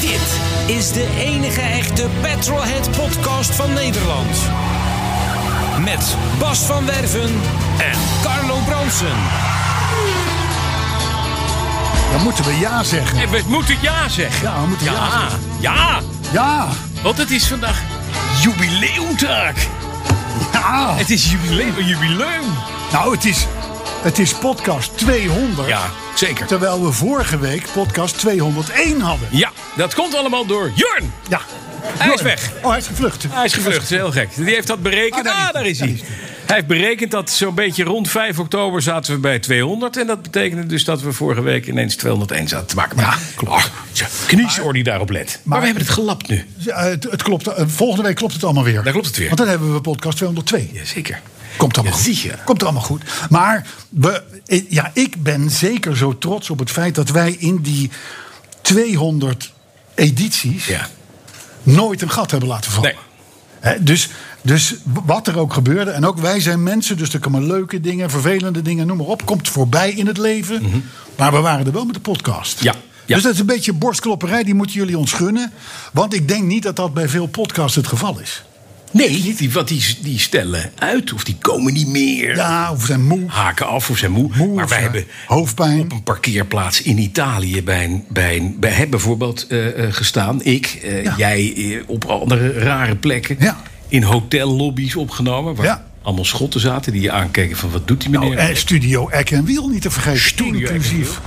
Dit is de enige echte Petrolhead podcast van Nederland. Met Bas van Werven en Carlo Bronsen. Dan moeten we ja zeggen. En we moeten ja zeggen. Ja, we moeten ja, ja, zeggen. ja, Ja, want het is vandaag jubileumdag. ja. Het is jubileum, jubileum. Nou, het is, het is podcast 200. Ja, zeker. Terwijl we vorige week podcast 201 hadden. Ja, dat komt allemaal door Jorn. Ja. Hij is weg. Oh, hij is gevlucht. Ah, Hij is gevlucht, dat is heel gek. Die heeft dat berekend. Ah, daar is Ah, daar is hij. Daar hij. is Hij heeft berekend dat zo'n beetje rond 5 oktober zaten we bij 200. En dat betekende dus dat we vorige week ineens 201 zaten te maken. Maar, ja, klopt. Kniesoor die daarop let. Maar, we hebben het gelapt nu. Ja, het, het klopt, eh, volgende week klopt het allemaal weer. Daar klopt het weer. Want dan hebben we podcast 202. Jazeker. Komt allemaal Ja, goed. zie je. Komt allemaal goed. Maar we, eh, ja, ik ben zeker zo trots op het feit dat wij in die 200 edities Ja. nooit een gat hebben laten vallen. Nee. Hè, dus, dus wat er ook gebeurde, en ook wij zijn mensen, dus er komen leuke dingen, vervelende dingen, noem maar op, komt voorbij in het leven. Maar we waren er wel met de podcast. Mhm. Ja, ja. Dus dat is een beetje borstklopperij, die moeten jullie ons gunnen. Want ik denk niet dat dat bij veel podcasts het geval is. Nee, niet die, want die, die stellen uit of die komen niet meer. Ja, of we zijn moe. Haken af of zijn moe. Moe maar of wij zijn hebben hoofdpijn. op een parkeerplaats in Italië bij, een, bij, een, bij heb bijvoorbeeld eh, eh, gestaan. Ik, eh, Ja. jij eh, op andere rare plekken. Ja. In hotellobby's opgenomen. Waar Ja. allemaal schotten zaten die je aankeken van wat doet die meneer. Nou, eh, Studio Eck en Wiel niet te vergeten. Studio Eck en Inclusief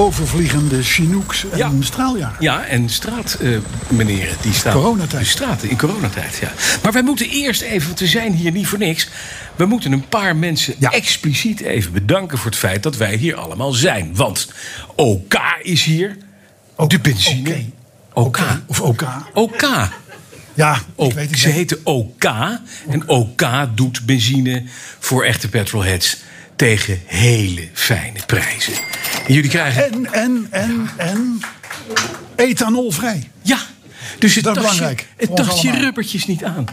overvliegende Chinooks en Ja. straaljagers. ja, en straatmeneren meneren die staan. Coronatijd. De straten in coronatijd, ja. Maar wij moeten eerst even, want we zijn hier niet voor niks. We moeten een paar mensen Ja. expliciet even bedanken voor het feit dat wij hier allemaal zijn. Want OK is hier. de benzine. OK. Of OK. OK. Ja, ik OK. weet Ze het niet. heten OK. En OK doet benzine voor echte petrolheads tegen hele fijne prijzen. En jullie krijgen En, en, en, en. Ethanolvrij. Ja, dus het Dat is tast je- belangrijk voor Het ons tast je allemaal. rubbertjes niet aan.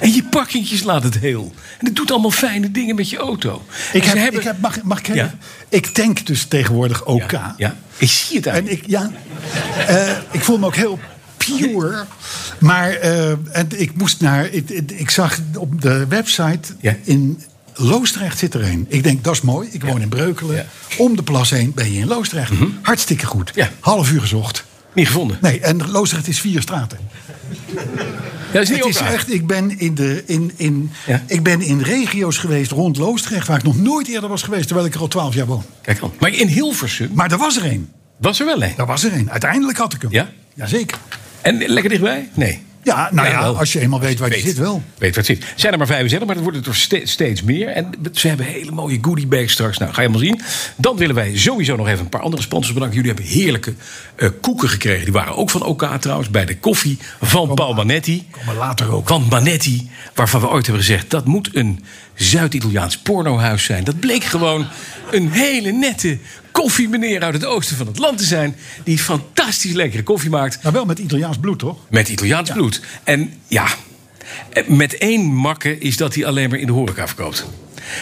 En je pakkingjes laat het heel. En het doet allemaal fijne dingen met je auto. Ik En ze heb, hebben- ik heb, mag, mag ik Ja. even- Ik tank dus tegenwoordig OK. Ja, ja. ik zie het En eigenlijk. ik, ja, eh, ik voel me ook heel pure. Maar eh, en ik moest naar. Ik, ik, ik zag op de website Ja. in. Loosdrecht zit er een. Ik denk, dat is mooi. Ik woon in Breukelen. Ja. Mhm. Om de plas heen ben je in Loosdrecht. Hartstikke goed. Ja. Half uur gezocht. Niet gevonden. Nee, en Loosdrecht is vier straten. dat is niet Het is ook waar. echt, ik ben in, de, in, in, Ja. ik ben in regio's geweest rond Loosdrecht... waar ik nog nooit eerder was geweest, terwijl ik er al twaalf jaar woon. Kijk al. Maar in Hilversum Maar er was er één. was er wel een. Daar was er één. Uiteindelijk had ik hem. Ja? Jazeker. En lekker dichtbij? Nee. Ja, nou ja, wel. als je eenmaal weet waar je zit wel. Weet waar het zit. Zijn er maar 75, maar het wordt er toch ste- steeds meer. En ze hebben hele mooie goodie bags straks. Nou, ga je helemaal zien. Dan willen wij sowieso nog even een paar andere sponsors bedanken. Jullie hebben heerlijke eh, koeken gekregen. Die waren ook van OK trouwens. Bij de koffie van Paul Manetti. maar later ook. Van Manetti, waarvan we ooit hebben gezegd... dat moet een Zuid-Italiaans pornohuis zijn. Dat bleek gewoon een hele nette koffiemeneer uit het oosten van het land te zijn... die fantastisch lekkere koffie maakt. Maar Nou, wel met Italiaans bloed, toch? Met Italiaans bloed. En ja, eh, met één makke is dat hij alleen maar in de horeca verkoopt.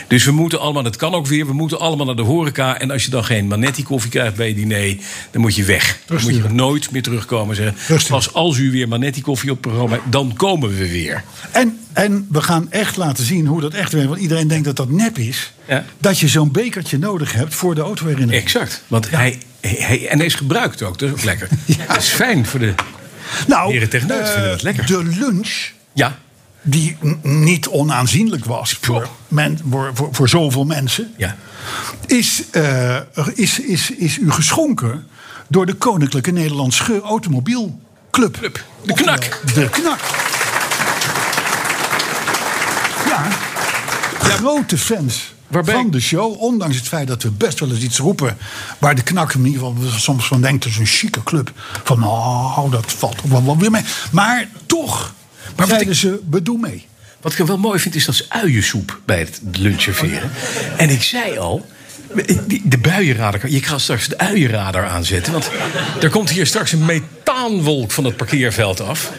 Dus we moeten allemaal, dat kan ook weer, we moeten allemaal naar de horeca. En als je dan geen Manetti koffie krijgt bij je diner, dan moet je weg. Dan moet je Terugsturen. nooit meer terugkomen. Zeggen. Terugsturen. Pas als u weer Manetti koffie op het programma hebt, dan komen we weer. En, en we gaan echt laten zien hoe dat echt werkt. Want iedereen denkt dat dat nep is. Ja. Dat je zo'n bekertje nodig hebt voor de autoherinnering. Exact. Want hij, hij, en hij is gebruikt ook, dat is ook lekker. Dat is fijn voor de. Nou, Heren techneut eh, vinden dat lekker. de lunch, Ja, die n- niet onaanzienlijk was voor, men, voor, voor, voor zoveel mensen... ja. Is, eh, is, is, is u geschonken door de Koninklijke Nederlandse Automobielclub. Club. De Oftewel, Knak. De knak. Ja, Ja, grote fans Waarbij- van de show. Ondanks het feit dat we best wel eens iets roepen. waar de knak in ieder geval soms van denkt. dat is een chique club. Van nou, dat valt toch wel wat weer mee. Maar toch wat zeiden ze: bedoel mee. Wat ik wel mooi vind, is dat ze uiensoep bij het luncherveren. En ik zei al. die- De buienradar. Je gaat straks de uienradar aanzetten. Want er komt hier straks een methaanwolk van het parkeerveld af.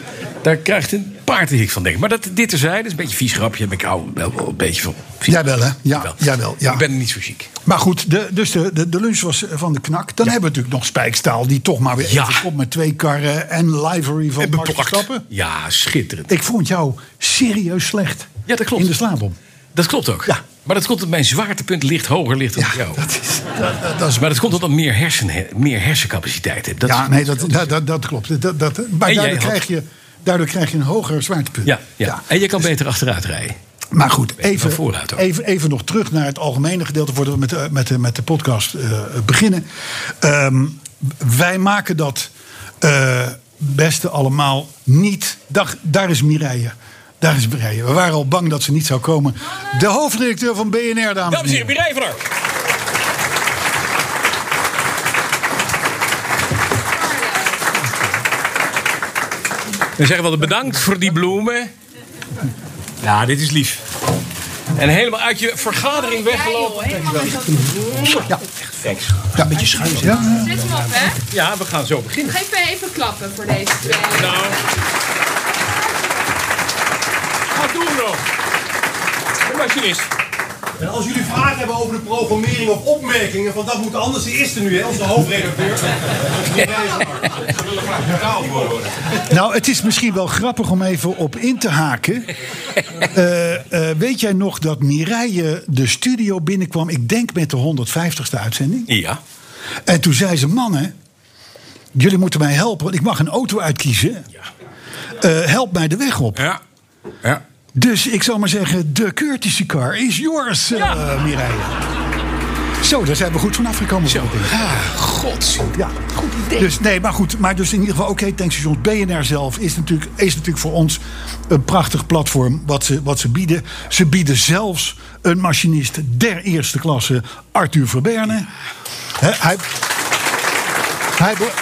Daar krijgt een paard een hik van, denk ik. Maar dat, dit terzijde, dat is een beetje een vies grapje. Maar ik hou wel, wel een beetje van. vies. Jawel, hè? Ja, Wel. jawel, ja. Ik ben niet zo chic. Maar goed, de, dus de, de, de lunch was eh, van de knak. Dan hebben we natuurlijk nog Spijkstaal, die toch maar weer Ja. even komt met twee karren en livery van Max Beplakt. Verstappen. Ja, schitterend. Ik vond jou serieus slecht. Ja, dat klopt. In de slaapom. Dat klopt ook. Ja. Maar dat komt omdat mijn zwaartepunt ligt hoger ligt dan jou. dat is... Dat, dat- dat is Maar dat komt omdat ik meer, hersen, meer hersencapaciteit heb. Dat ja, is- nee, dat, dat, dat, dat klopt. Dat, dat, maar jij daardoor had- krijg, je, daardoor krijg je een hoger zwaartepunt. Ja, ja. en je kan beter achteruit rijden. Maar goed, Beter even, naar vooruit ook. even, even nog terug naar het algemene gedeelte voordat we met de, met de, met de podcast eh, beginnen. Ehm, wij maken dat eh, beste allemaal niet. Dag, daar is Mireille. Daar is Mireille. We waren al bang dat ze niet zou komen. De hoofdredacteur van BNR, dames en heren. Mireille van Dan zeggen we altijd bedankt voor die bloemen. Ja, dit is lief. En helemaal uit je vergadering weggelopen. Thanks. Ja, een beetje schuin. Zet hem op, hè? Ja, we gaan zo beginnen. Geef mij even klappen voor deze twee. Nou. Wat doen we nog? De machinist. En als jullie vragen hebben over de programmering of opmerkingen, van dat moet anders, die is er nu, hè, onze hoofdredacteur. Ze willen graag betaald worden. Nou, het is misschien wel grappig om even op in te haken. Eh, eh, weet jij nog dat Mireille de studio binnenkwam? Ik denk met de 150ste uitzending. Ja. En toen zei ze: Mannen, jullie moeten mij helpen, want ik mag een auto uitkiezen. Eh, help mij de weg op. Ja. Ja. Dus ik zal maar zeggen: De Curtische car is yours, eh Mireille. Zo, daar zijn we goed vanaf gekomen. Zo. vond ik. Ah, gods. Ja, goed idee. Dus, nee, maar goed. Maar dus in ieder geval, oké, tankstations. BNR zelf is natuurlijk, is natuurlijk voor ons een prachtig platform wat ze, wat ze bieden. Ze bieden zelfs een machinist der eerste klasse, Arthur Verberne. Hè, hij, hij, be-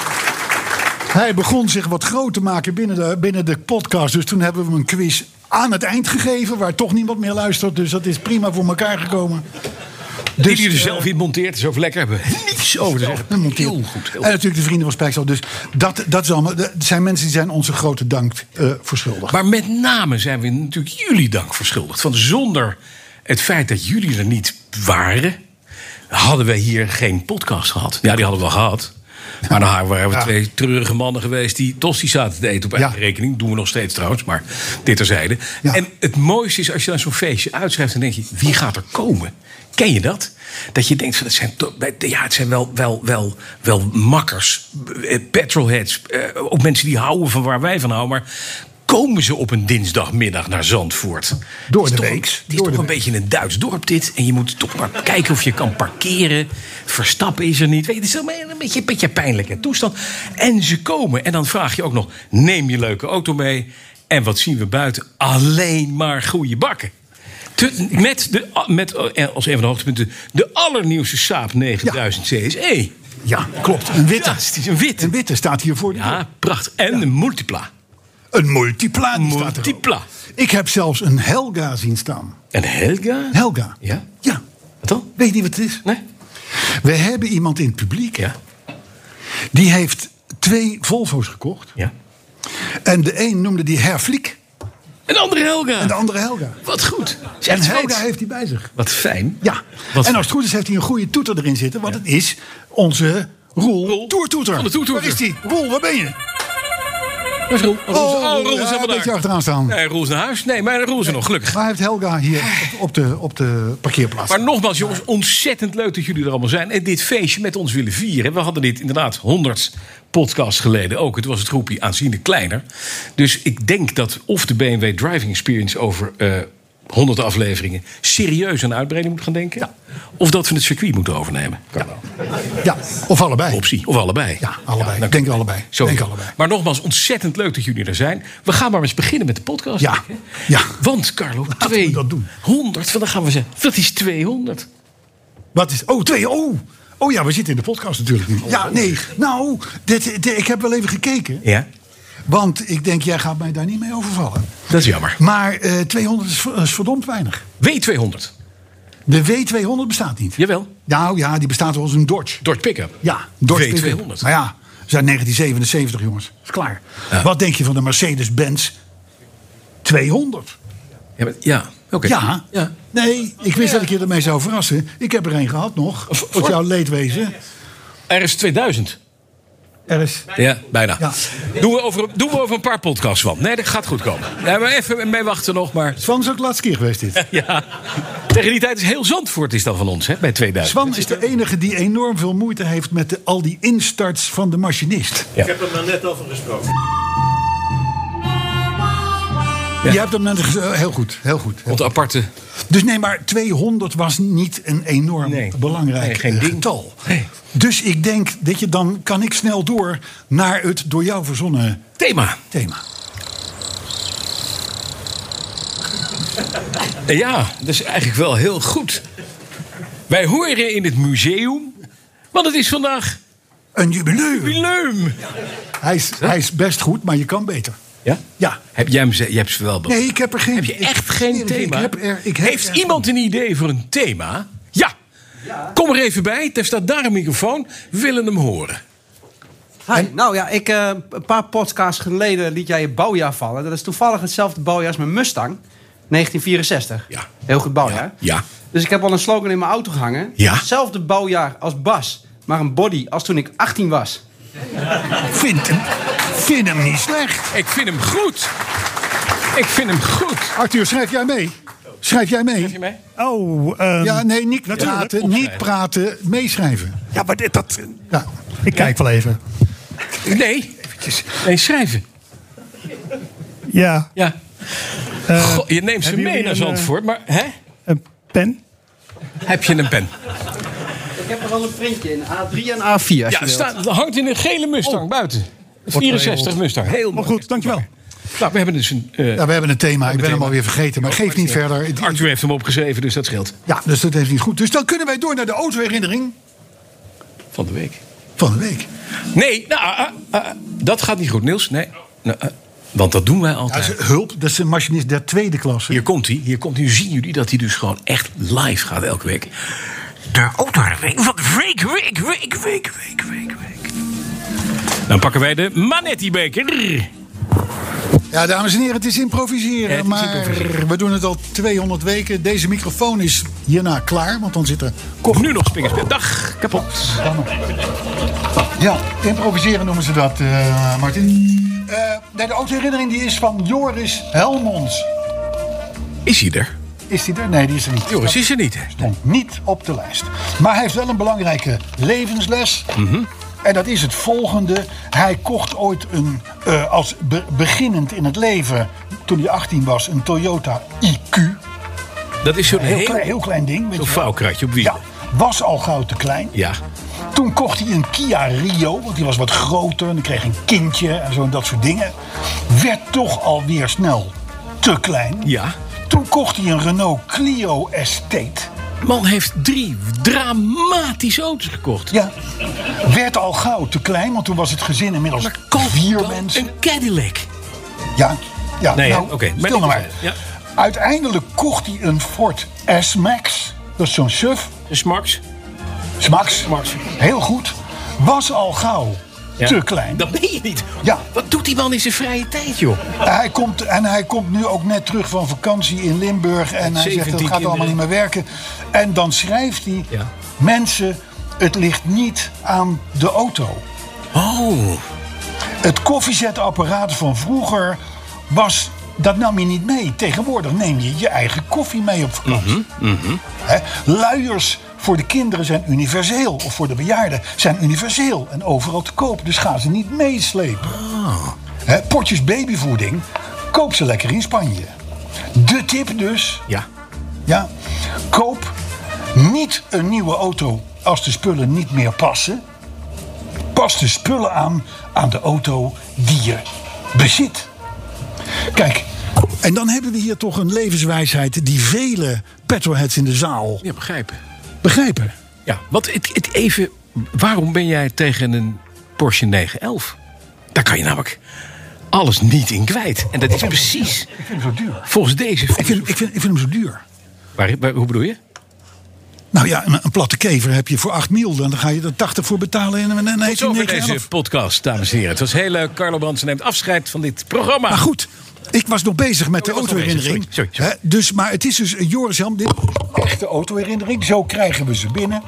hij begon zich wat groot te maken binnen de, binnen de podcast. Dus toen hebben we hem een quiz aan het eind gegeven, waar toch niemand meer luistert. Dus dat is prima voor elkaar gekomen. Die Dus, die er eh, zelf in monteert, is ook lekker. Hebben we niets Oh, over te zeggen. Een monteer. Heel goed. heel En natuurlijk de vrienden van Spijksel. Dus dat, dat is allemaal, dat zijn mensen die zijn onze grote dank eh verschuldigd. Maar met name zijn we natuurlijk jullie dank verschuldigd. Want zonder het feit dat jullie er niet waren, hadden we hier geen podcast gehad. Ja, die hadden we wel gehad. Maar dan waren we Ja. twee treurige mannen geweest die tosti's zaten te eten op eigen Ja. rekening. Doen we nog steeds trouwens, maar dit terzijde. Ja. En het mooiste is als je dan zo'n feestje uitschrijft, dan denk je: wie gaat er komen? Ken je dat? Dat je denkt: van, het zijn, toch- ja, het zijn wel, wel, wel, wel makkers, eh, petrolheads, eh, ook mensen die houden van waar wij van houden. Maar komen ze op een dinsdagmiddag naar Zandvoort? Door Het is de toch- week. Het is Door toch de een week. beetje een Duits dorp dit. En je moet toch maar kijken of je kan parkeren. Verstappen is er niet. Weet je, het is allemaal een beetje, een beetje pijnlijke toestand. En ze komen. En dan vraag je ook nog, neem je leuke auto mee. En wat zien we buiten? Alleen maar goede bakken. Te- Met, de, met eh, als een van de hoogtepunten de allernieuwste Saab 9000 CSE. Ja, klopt. Een witte. E. Ja, het is een witte. Een witte staat hier voor de deur. Ja, prachtig. En een Multipla. Een multipla. die staat er Multipla. ook. Ik heb zelfs een Helga zien staan. En Helga? Helga. Ja? Ja. Wat dan? Weet je niet wat het is? Nee? We hebben iemand in het publiek. Ja. Die heeft twee Volvo's gekocht. Ja. En de een noemde die Herfliek. Een andere Helga. En de andere Helga. Wat goed. En Helga heeft die bij zich. Wat fijn. Ja. Wat en als het goed is heeft hij een goede toeter erin zitten. Want het is onze Roel, Roel. Toertoeter. Van de toertoeter. Waar is die? Roel, waar ben je? Waar is Roel? Oh, Roel, is- oh, Roel ja, is helemaal een beetje daar. achteraan staan. Nee, Roel is naar huis. Nee, maar Roel is er nog, gelukkig. Maar hij heeft Helga hier op, op de, op de parkeerplaats. Maar nogmaals, jongens, ontzettend leuk dat jullie er allemaal zijn. En dit feestje met ons willen vieren. We hadden dit inderdaad 100 podcasts geleden ook. Het was het groepje aanzienlijk kleiner. Dus ik denk dat of de BMW Driving Experience over eh, honderden afleveringen serieus aan uitbreiding moet gaan denken. Of dat we het circuit moeten overnemen. Kan wel. Ja, of allebei. Optie. Of allebei. Ja, allebei. dan- Ik denk allebei. Zo. Denk allebei. Maar nogmaals, ontzettend leuk dat jullie er zijn. We gaan maar eens beginnen met de podcast. Ja. denk ik, hè? Ja. Want Carlo, we 200. dat doen. 100, dan gaan we zeggen, dat is 200. Wat is. Oh, twee. Oh. Oh ja, we zitten in de podcast natuurlijk nu. Ja, nee. Nou, dit, dit- ik heb wel even gekeken. Ja, Want ik denk, jij gaat mij daar niet mee overvallen. dat is jammer. Maar eh 200 is, ver- is verdomd weinig. W200. De W200 bestaat niet. Jawel. Nou ja, die bestaat wel als een Dodge. Dort Pickup. Ja, Dodge W200. Pickup. Maar ja, we zijn 1977, jongens. Is klaar. Wat denk je van de Mercedes-Benz 200? Ja, maar- ja. oké. Ja. ja. Nee, ik wist dat ik je ermee zou verrassen. Ik heb er een gehad nog. Tot jouw leedwezen. Er is 2000. Er is. Ja, bijna. Ja. Doen, we over, doen we over een paar podcasts van. Nee, dat gaat goed komen. Ja, maar even mee wachten nog, maar... Swan is ook de laatste keer geweest dit. Ja. Tegen die tijd is heel Zandvoort is dan van ons, hè, bij 2000. Swan is de enige die enorm veel moeite heeft met de, al die instarts van de machinist. Ja. Ik heb er maar net over gesproken. Je hebt hem net gez- eh, heel goed, heel goed. Onze aparte... Dus nee, maar 200 was niet een enorm Nee. belangrijk Nee, geen eh, ding. getal. Nee. Dus ik denk dat je dan kan ik snel door naar het door jou verzonnen Thema. thema. Eh, Ja, dat is eigenlijk wel heel goed. Wij horen in het museum, want het is vandaag Een jubileum. jubileum. Hij is, hij is best goed, maar je kan beter. Ja? Ja. Heb jij hem, ze- je hebt ze wel... be- Nee, ik heb er geen. Heb je echt geen ik, thema? Ik heb er, ik heb Heeft er- iemand een idee voor een thema? Ja. Kom er even bij. Er staat daar een microfoon. We willen hem horen. Hi. Nou ja, ik, eh, een paar podcasts geleden liet jij je bouwjaar vallen. Dat is toevallig hetzelfde bouwjaar als mijn Mustang. 1964. Ja. Heel goed bouwjaar. Ja. Dus ik heb al een slogan in mijn auto gehangen. Ja. Hetzelfde bouwjaar als Bas, maar een body als toen ik 18 was. Vind hem, vind hem niet slecht. Ik vind hem goed. Ik vind hem goed. Arthur, schrijf jij mee? Schrijf jij mee? je mee? Oh, ehm, Ja, ja, nee, niet Natuurlijk. praten, niet praten, meeschrijven. maar dit, dat. Ja. Ik kijk wel even. Nee. Nee, schrijven. Ja, Eh, Ja. Goh, je neemt ze hebben mee jullie naar een, eh, Zandvoort, maar hè? een pen. heb je een pen? Ik heb er al een printje in. A3 en A4 als je Ja, wilt. staat, er hangt in een gele Mustang Oh, buiten. 64 Mustang. Heel Maar mooi. goed, dankjewel. eh, Nou, we hebben dus een... eh, ja, we hebben een thema. Ik ben hem alweer vergeten, maar geef niet verder. Het- Arthur heeft hem opgeschreven, dus dat scheelt. Ja, dus dat heeft niet goed. Dus dan kunnen wij door naar de autoherinnering Van de week. van de week. Nee, nou, ah, ah, ah, dat gaat niet goed, Niels. Nee, nou, eh, want dat doen wij Ja, altijd. ze- hulp, dat is een machinist der tweede klasse. Hier komt hij. Hier komt hij. Nu zien jullie dat hij dus gewoon echt live gaat elke week. De autoherinnering van de week, week, week, week, week, week, week. Dan pakken wij de Manetti-beker. Ja, dames en heren, het is improviseren. Ja, het is maar improviseren. we doen het al 200 weken. Deze microfoon is hierna klaar, want dan zit er... koffie. Nu nog spingerspin. Dag, kapot. Ja, improviseren noemen ze dat, eh, Martin. Eh, nee, de autoherinnering die is van Joris Helmons. Is hij er? Is die er? Nee, die is er niet. Joris is er niet, hè? stond niet op de lijst. Maar hij heeft wel een belangrijke levensles. Mhm. En dat is het volgende. Hij kocht ooit een, eh, als be- beginnend in het leven, toen hij 18 was, een Toyota IQ. Dat is zo'n Heel, heel, klein, heel klein ding. weet zo'n je wel. vouwkratje op wielen. Ja, was al gauw te klein. Ja. Toen kocht hij een Kia Rio, want die was wat groter. En dan kreeg een kindje en zo en dat soort dingen. Werd toch alweer snel te klein. Ja. Toen kocht hij een Renault Clio Estate. Man heeft drie dramatische auto's gekocht. Ja. Werd al gauw te klein, want toen was het gezin inmiddels Maar koop vier dan mensen. Een Cadillac. Ja, ja. Nee, nou, hè, oké, maar stil dit nou is maar. het, Uiteindelijk kocht hij een Ford S-Max. Dat is zo'n SUV. Een Smax. S-Max. Heel goed. Was al gauw Ja. te klein. Dat ben je niet. Ja. Wat doet die man in zijn vrije tijd, joh? Hij komt, en hij komt nu ook net terug van vakantie in Limburg. En hij zegt, 17 het gaat kinderen. allemaal niet meer werken. En dan schrijft hij, Ja. mensen, het ligt niet aan de auto. Oh. Het koffiezetapparaat van vroeger was. Dat nam je niet mee. Tegenwoordig neem je je eigen koffie mee op vakantie. Hè, luiers voor de kinderen zijn universeel. Of voor de bejaarden zijn universeel. En overal te koop. Dus ga ze niet meeslepen. Hè, potjes babyvoeding. Koop ze lekker in Spanje. De tip dus. Ja. Ja. Koop niet een nieuwe auto als de spullen niet meer passen. Pas de spullen aan aan de auto die je bezit. Kijk, en dan hebben we hier toch een levenswijsheid die vele petrolheads in de zaal Ja, begrijpen. begrijpen. Ja, want het, het even, waarom ben jij tegen een Porsche 911? Daar kan je namelijk alles niet in kwijt. En dat is precies Ik vind hem zo duur. volgens deze. Ik vind, ik vind, ik vind hem zo duur. Waar, waar- hoe bedoel je? Nou ja, een, een platte kever heb je voor 8 mil. Dan ga je er 80 voor betalen en dan heet hij Zo voor 911. deze podcast, dames en heren. Het was heel leuk. Carlo Brandsen neemt afscheid van dit programma. Maar goed, ik was nog bezig met de Oh, je was nog bezig. autoherinnering. Sorry, sorry, sorry. Hè, Dus, maar het is dus, eh, Joris Helm, dit is echt de autoherinnering. Zo krijgen we ze binnen.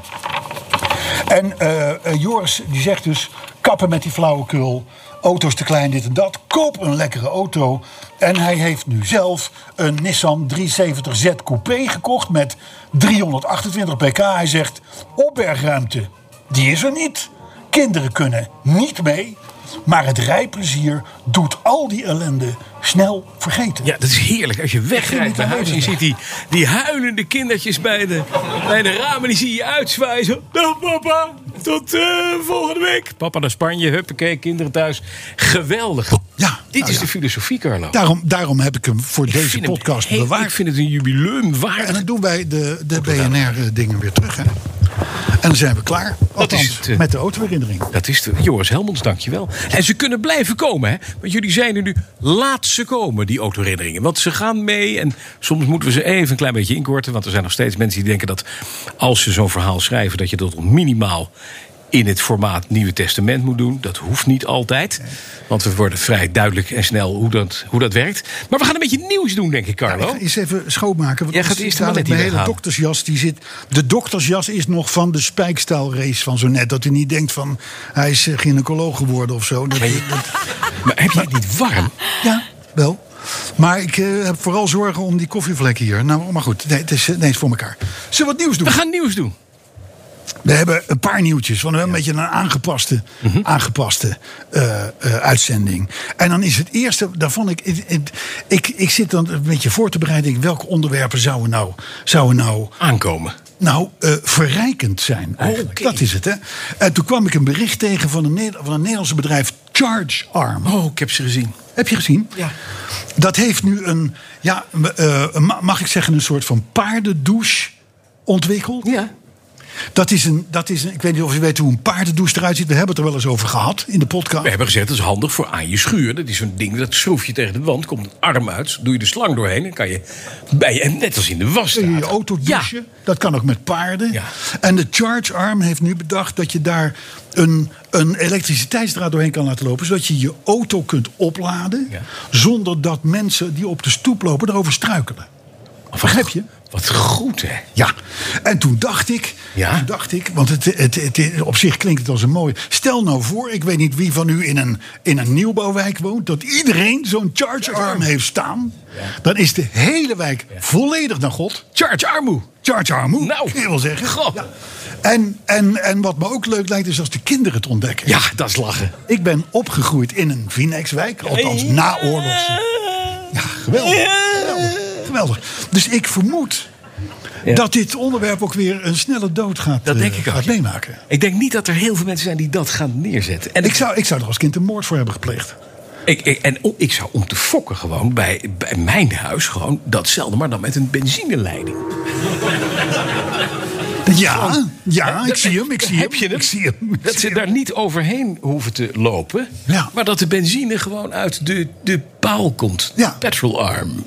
En eh, eh, Joris die zegt dus, kappen met die flauwekul. Auto's te klein, dit en dat. Koop een lekkere auto. En hij heeft nu zelf een Nissan 370Z Coupé gekocht met 328 pk. Hij zegt, opbergruimte, die is er niet. Kinderen kunnen niet mee. Maar het rijplezier doet al die ellende snel vergeten. Ja, dat is heerlijk. Als je wegrijdt niet naar aan huis, je deze ziet die, die huilende kindertjes bij de, bij de ramen. Die zie je uitswaaien. Zo, Dag papa, tot eh, volgende week. Papa naar Spanje, huppakee, kinderen thuis. Geweldig. Ja, Dit nou is ja. de filosofie, Carlo. Daarom, daarom heb ik hem voor Ik deze vind hem podcast heel- Ik bewaard. vind het een jubileum En waard. dan doen wij de, de BNR-dingen eh, weer terug. Hè. En dan zijn we klaar. Althans, is het, eh. met de autoherinnering. Dat is de, Joris Helmonds, dankjewel. En ze kunnen blijven komen, hè? Want jullie zijn er nu. Laat ze komen, die autoherinneringen. Want ze gaan mee. En soms moeten we ze even een klein beetje inkorten. Want er zijn nog steeds mensen die denken dat als ze zo'n verhaal schrijven, dat je dat op minimaal in het formaat Nieuwe Testament moet doen. Dat hoeft niet altijd. Want we worden vrij duidelijk en snel hoe dat, hoe dat werkt. Maar we gaan een beetje nieuws doen, denk ik, Ik Carlo. ga eens even schoonmaken. Want Jij gaat anders eerst de mallet dadelijk mijn hele weghalen. doktersjas die zit. De doktersjas is nog van de spijkstijlrace van zo net. Dat u niet denkt van hij is eh, gynaecoloog geworden of zo. Dat, dat- Maar heb je het niet warm? ja, wel. Maar ik eh, heb vooral zorgen om die koffievlek hier. Nou, maar goed, nee, het is, eh, nee, het is voor elkaar. Zullen we wat nieuws doen? We gaan nieuws doen. We hebben een paar nieuwtjes. Want we hebben een beetje een aangepaste, aangepaste eh, eh, uitzending. En dan is het eerste, daarvan ik, ik, ik, ik, ik zit dan een beetje voor te bereiden. Ik, welke onderwerpen zouden nou, zouden nou, Aankomen. nou eh, verrijkend zijn? eigenlijk? Dat is het, hè? En toen kwam ik een bericht tegen van een, Neder- van een Nederlandse bedrijf, Charge Arm. Oh, ik heb ze gezien. Heb je gezien? Ja. Dat heeft nu een, ja, eh, ma- mag ik zeggen, een soort van paardendouche ontwikkeld. Ja. Dat is een, dat is een, ik weet niet of je weet hoe een paardendouche eruit ziet. We hebben het er wel eens over gehad in de podcast. We hebben gezegd, dat is handig voor aan je schuur. Dat is zo'n ding, dat schroef je tegen de wand, komt een arm uit, doe je de slang doorheen, dan kan je bij en net als in de was. Kun je je auto douchen. Dat kan ook met paarden. Ja. En de Charge Arm heeft nu bedacht dat je daar een, een elektriciteitsdraad doorheen kan laten lopen. Zodat je je auto kunt opladen. Ja. Zonder dat mensen die op de stoep lopen erover struikelen. Oh, Begrijp je? Wat goed, hè? Ja, en toen dacht ik, Ja. toen dacht ik want het, het, het, op zich klinkt het als een mooie. Stel nou voor, ik weet niet wie van u in een, in een nieuwbouwwijk woont, dat iedereen zo'n charge arm heeft staan. Dan is de hele wijk volledig naar God. Charge Armoe. Charge arm, moet Nou. ik wil zeggen. Goh. Ja. En, en, en wat me ook leuk lijkt, is als de kinderen het ontdekken. Ja, dat is lachen. Ik ben opgegroeid in een Vinex-wijk, althans na oorlogs. Ja, geweldig. Geweldig. geweldig. Dus ik vermoed dat dit onderwerp ook weer een snelle dood gaat, Dat eh, denk ik ook. gaat meemaken. Ik denk niet dat er heel veel mensen zijn die dat gaan neerzetten. En Ik zou, ik zou er als kind een moord voor hebben gepleegd. Ik, ik, en o- ik zou om te fokken gewoon bij, bij mijn huis gewoon datzelfde, maar dan met een benzineleiding. Ja, ja, Ah, ik zie hem, ik zie hem. Heb je hem? Ik zie hem. ik Dat zie ze hem. daar niet overheen hoeven te lopen, Ja. maar dat de benzine gewoon uit de, de paal komt. Ja. Petrol Arm.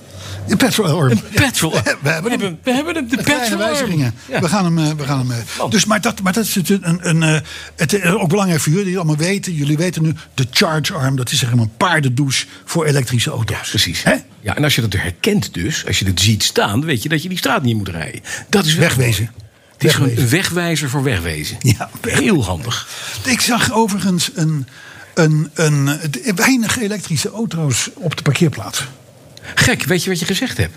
De petrol arm. Een petrol. We hebben hem. We hebben hem, de Kleine petrol. wijzigingen. Ja. We gaan hem. eh, We gaan hem eh. Man. dus, maar, dat, maar dat is het een, een, eh, het is ook belangrijk voor jullie die het allemaal weten. Jullie weten nu, de charge arm, dat is zeg maar een paardendouche voor elektrische auto's. Precies. Hè? Ja, en als je dat herkent dus, als je het ziet staan, weet je dat je die straat niet moet rijden. Dat is wel- Wegwezen. Het is gewoon Wegwezen. een wegwijzer voor wegwezen. Ja. Heel handig. Ik zag overigens een, een, een, het- weinig elektrische auto's op de parkeerplaats. Gek, weet je wat je gezegd hebt?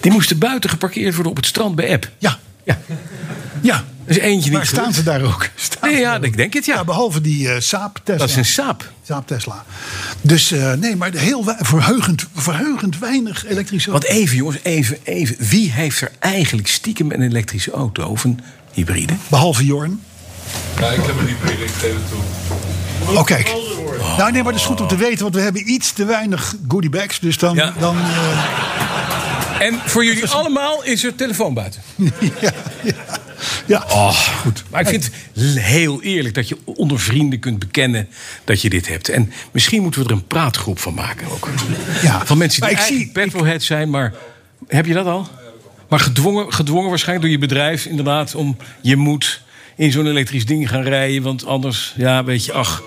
Die moesten buiten geparkeerd worden op het strand bij App. Ja, Ja, ja. is eentje Maar niet staan goed. ze daar ook? Staan Nee, ze ja, daar ook? ik denk het, ja. Ja, behalve die eh Saab Tesla. Dat is een saap. Saab Tesla. Dus eh, nee, maar heel we- verheugend, verheugend weinig elektrische Want even, jongens, even, even. Wie heeft er eigenlijk stiekem een elektrische auto of een hybride? Behalve Jorn. Ja, ik heb een hybride, ik geef het toe. Oh, kijk. Nou, nee, maar dat is goed om te weten, want we hebben iets te weinig goodie bags. Dus dan. Ja. dan eh, En voor jullie allemaal is er telefoon buiten. ja, ja, ja. Oh. goed. Maar ik vind het heel eerlijk dat je onder vrienden kunt bekennen dat je dit hebt. En misschien moeten we er een praatgroep van maken ook. Ja. Van mensen die Maar ik zie- eigenlijk petrolhead zijn, maar heb je dat al? Maar gedwongen, gedwongen waarschijnlijk door je bedrijf inderdaad om je moet in zo'n elektrisch ding gaan rijden, want anders, ja, weet je, ach.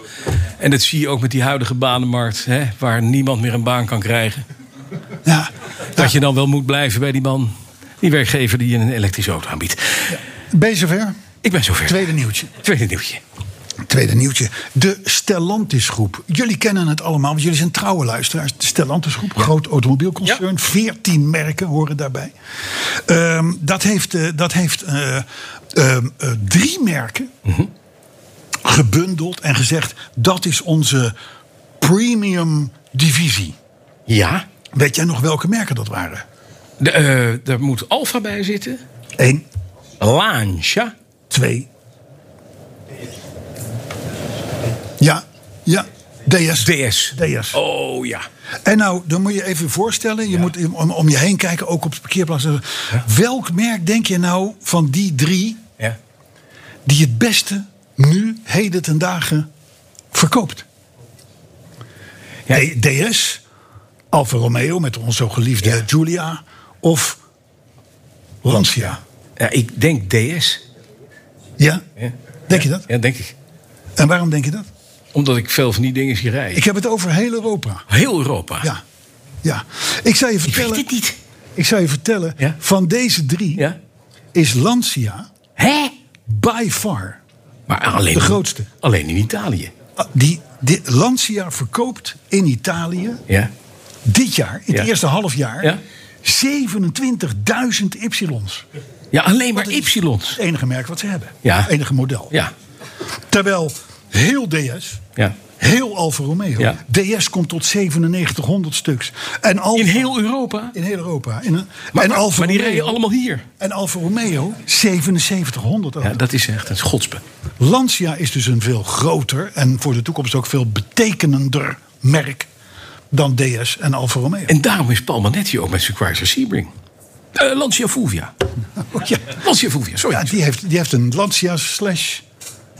En dat zie je ook met die huidige banenmarkt, hè, waar niemand meer een baan kan krijgen. ja. Dat je dan wel moet blijven bij die man, die werkgever die je een elektrische auto aanbiedt. Ben je zover? Ik ben zover. Tweede nieuwtje. Tweede nieuwtje. Tweede nieuwtje. De Stellantis groep. Jullie kennen het allemaal, want jullie zijn trouwe luisteraars. De Stellantis groep, groot automobielconcern. 14 merken horen daarbij. Ehm, dat heeft, eh, dat heeft eh, ehm, eh, drie merken gebundeld en gezegd... dat is onze premium divisie. Ja, Weet jij nog welke merken dat waren? de, eh, daar moet Alfa bij zitten. Eén, Lancia. twee... Ja, ja, DS. DS. DS. Oh ja. En nou, dan moet je even voorstellen, je moet om, om je heen kijken, ook op de parkeerplaats. Welk merk denk je nou van die drie ja. die het beste nu, heden ten dagen, verkoopt? Ja. D- DS, Alfa Romeo met onze zo geliefde Ja. Giulia of Lancia? Ja, ik denk DS. Ja? Denk je dat? Ja, denk ik. En waarom denk je dat? Omdat ik veel van die dingen zie rijden. Ik heb het over heel Europa. Heel Europa. Ja. Ja. Ik zou je Ik weet vertellen, het niet. ik zou je vertellen Ja. van deze drie Ja. is Lancia Hè? by far Maar alleen De grootste. Alleen in Italië. Die, die Lancia verkoopt in Italië Ja. dit jaar, in het Ja. eerste half jaar, Ja. 27.000 Y's. Ja, alleen maar Ypsilons. Het enige merk wat ze hebben. Ja. Het enige model. Ja. Terwijl heel DS, Ja. heel Alfa Romeo, Ja. DS komt tot 9700 stuks. En Alfa, In heel Europa. in heel Europa. In een, Maar, en, Alfa maar die Romeo, rijden allemaal hier. en Alfa Romeo 7700 ook. Ja, dat is echt een schotspe. Lancia is dus een veel groter en voor de toekomst ook veel betekenender merk dan DS en Alfa Romeo. En daarom is Palmanetti ook met zijn Chrysler Sebring. Eh Lancia Fulvia. ja. Lancia Fulvia, sorry. Ja, die heeft, die heeft een Lancia slash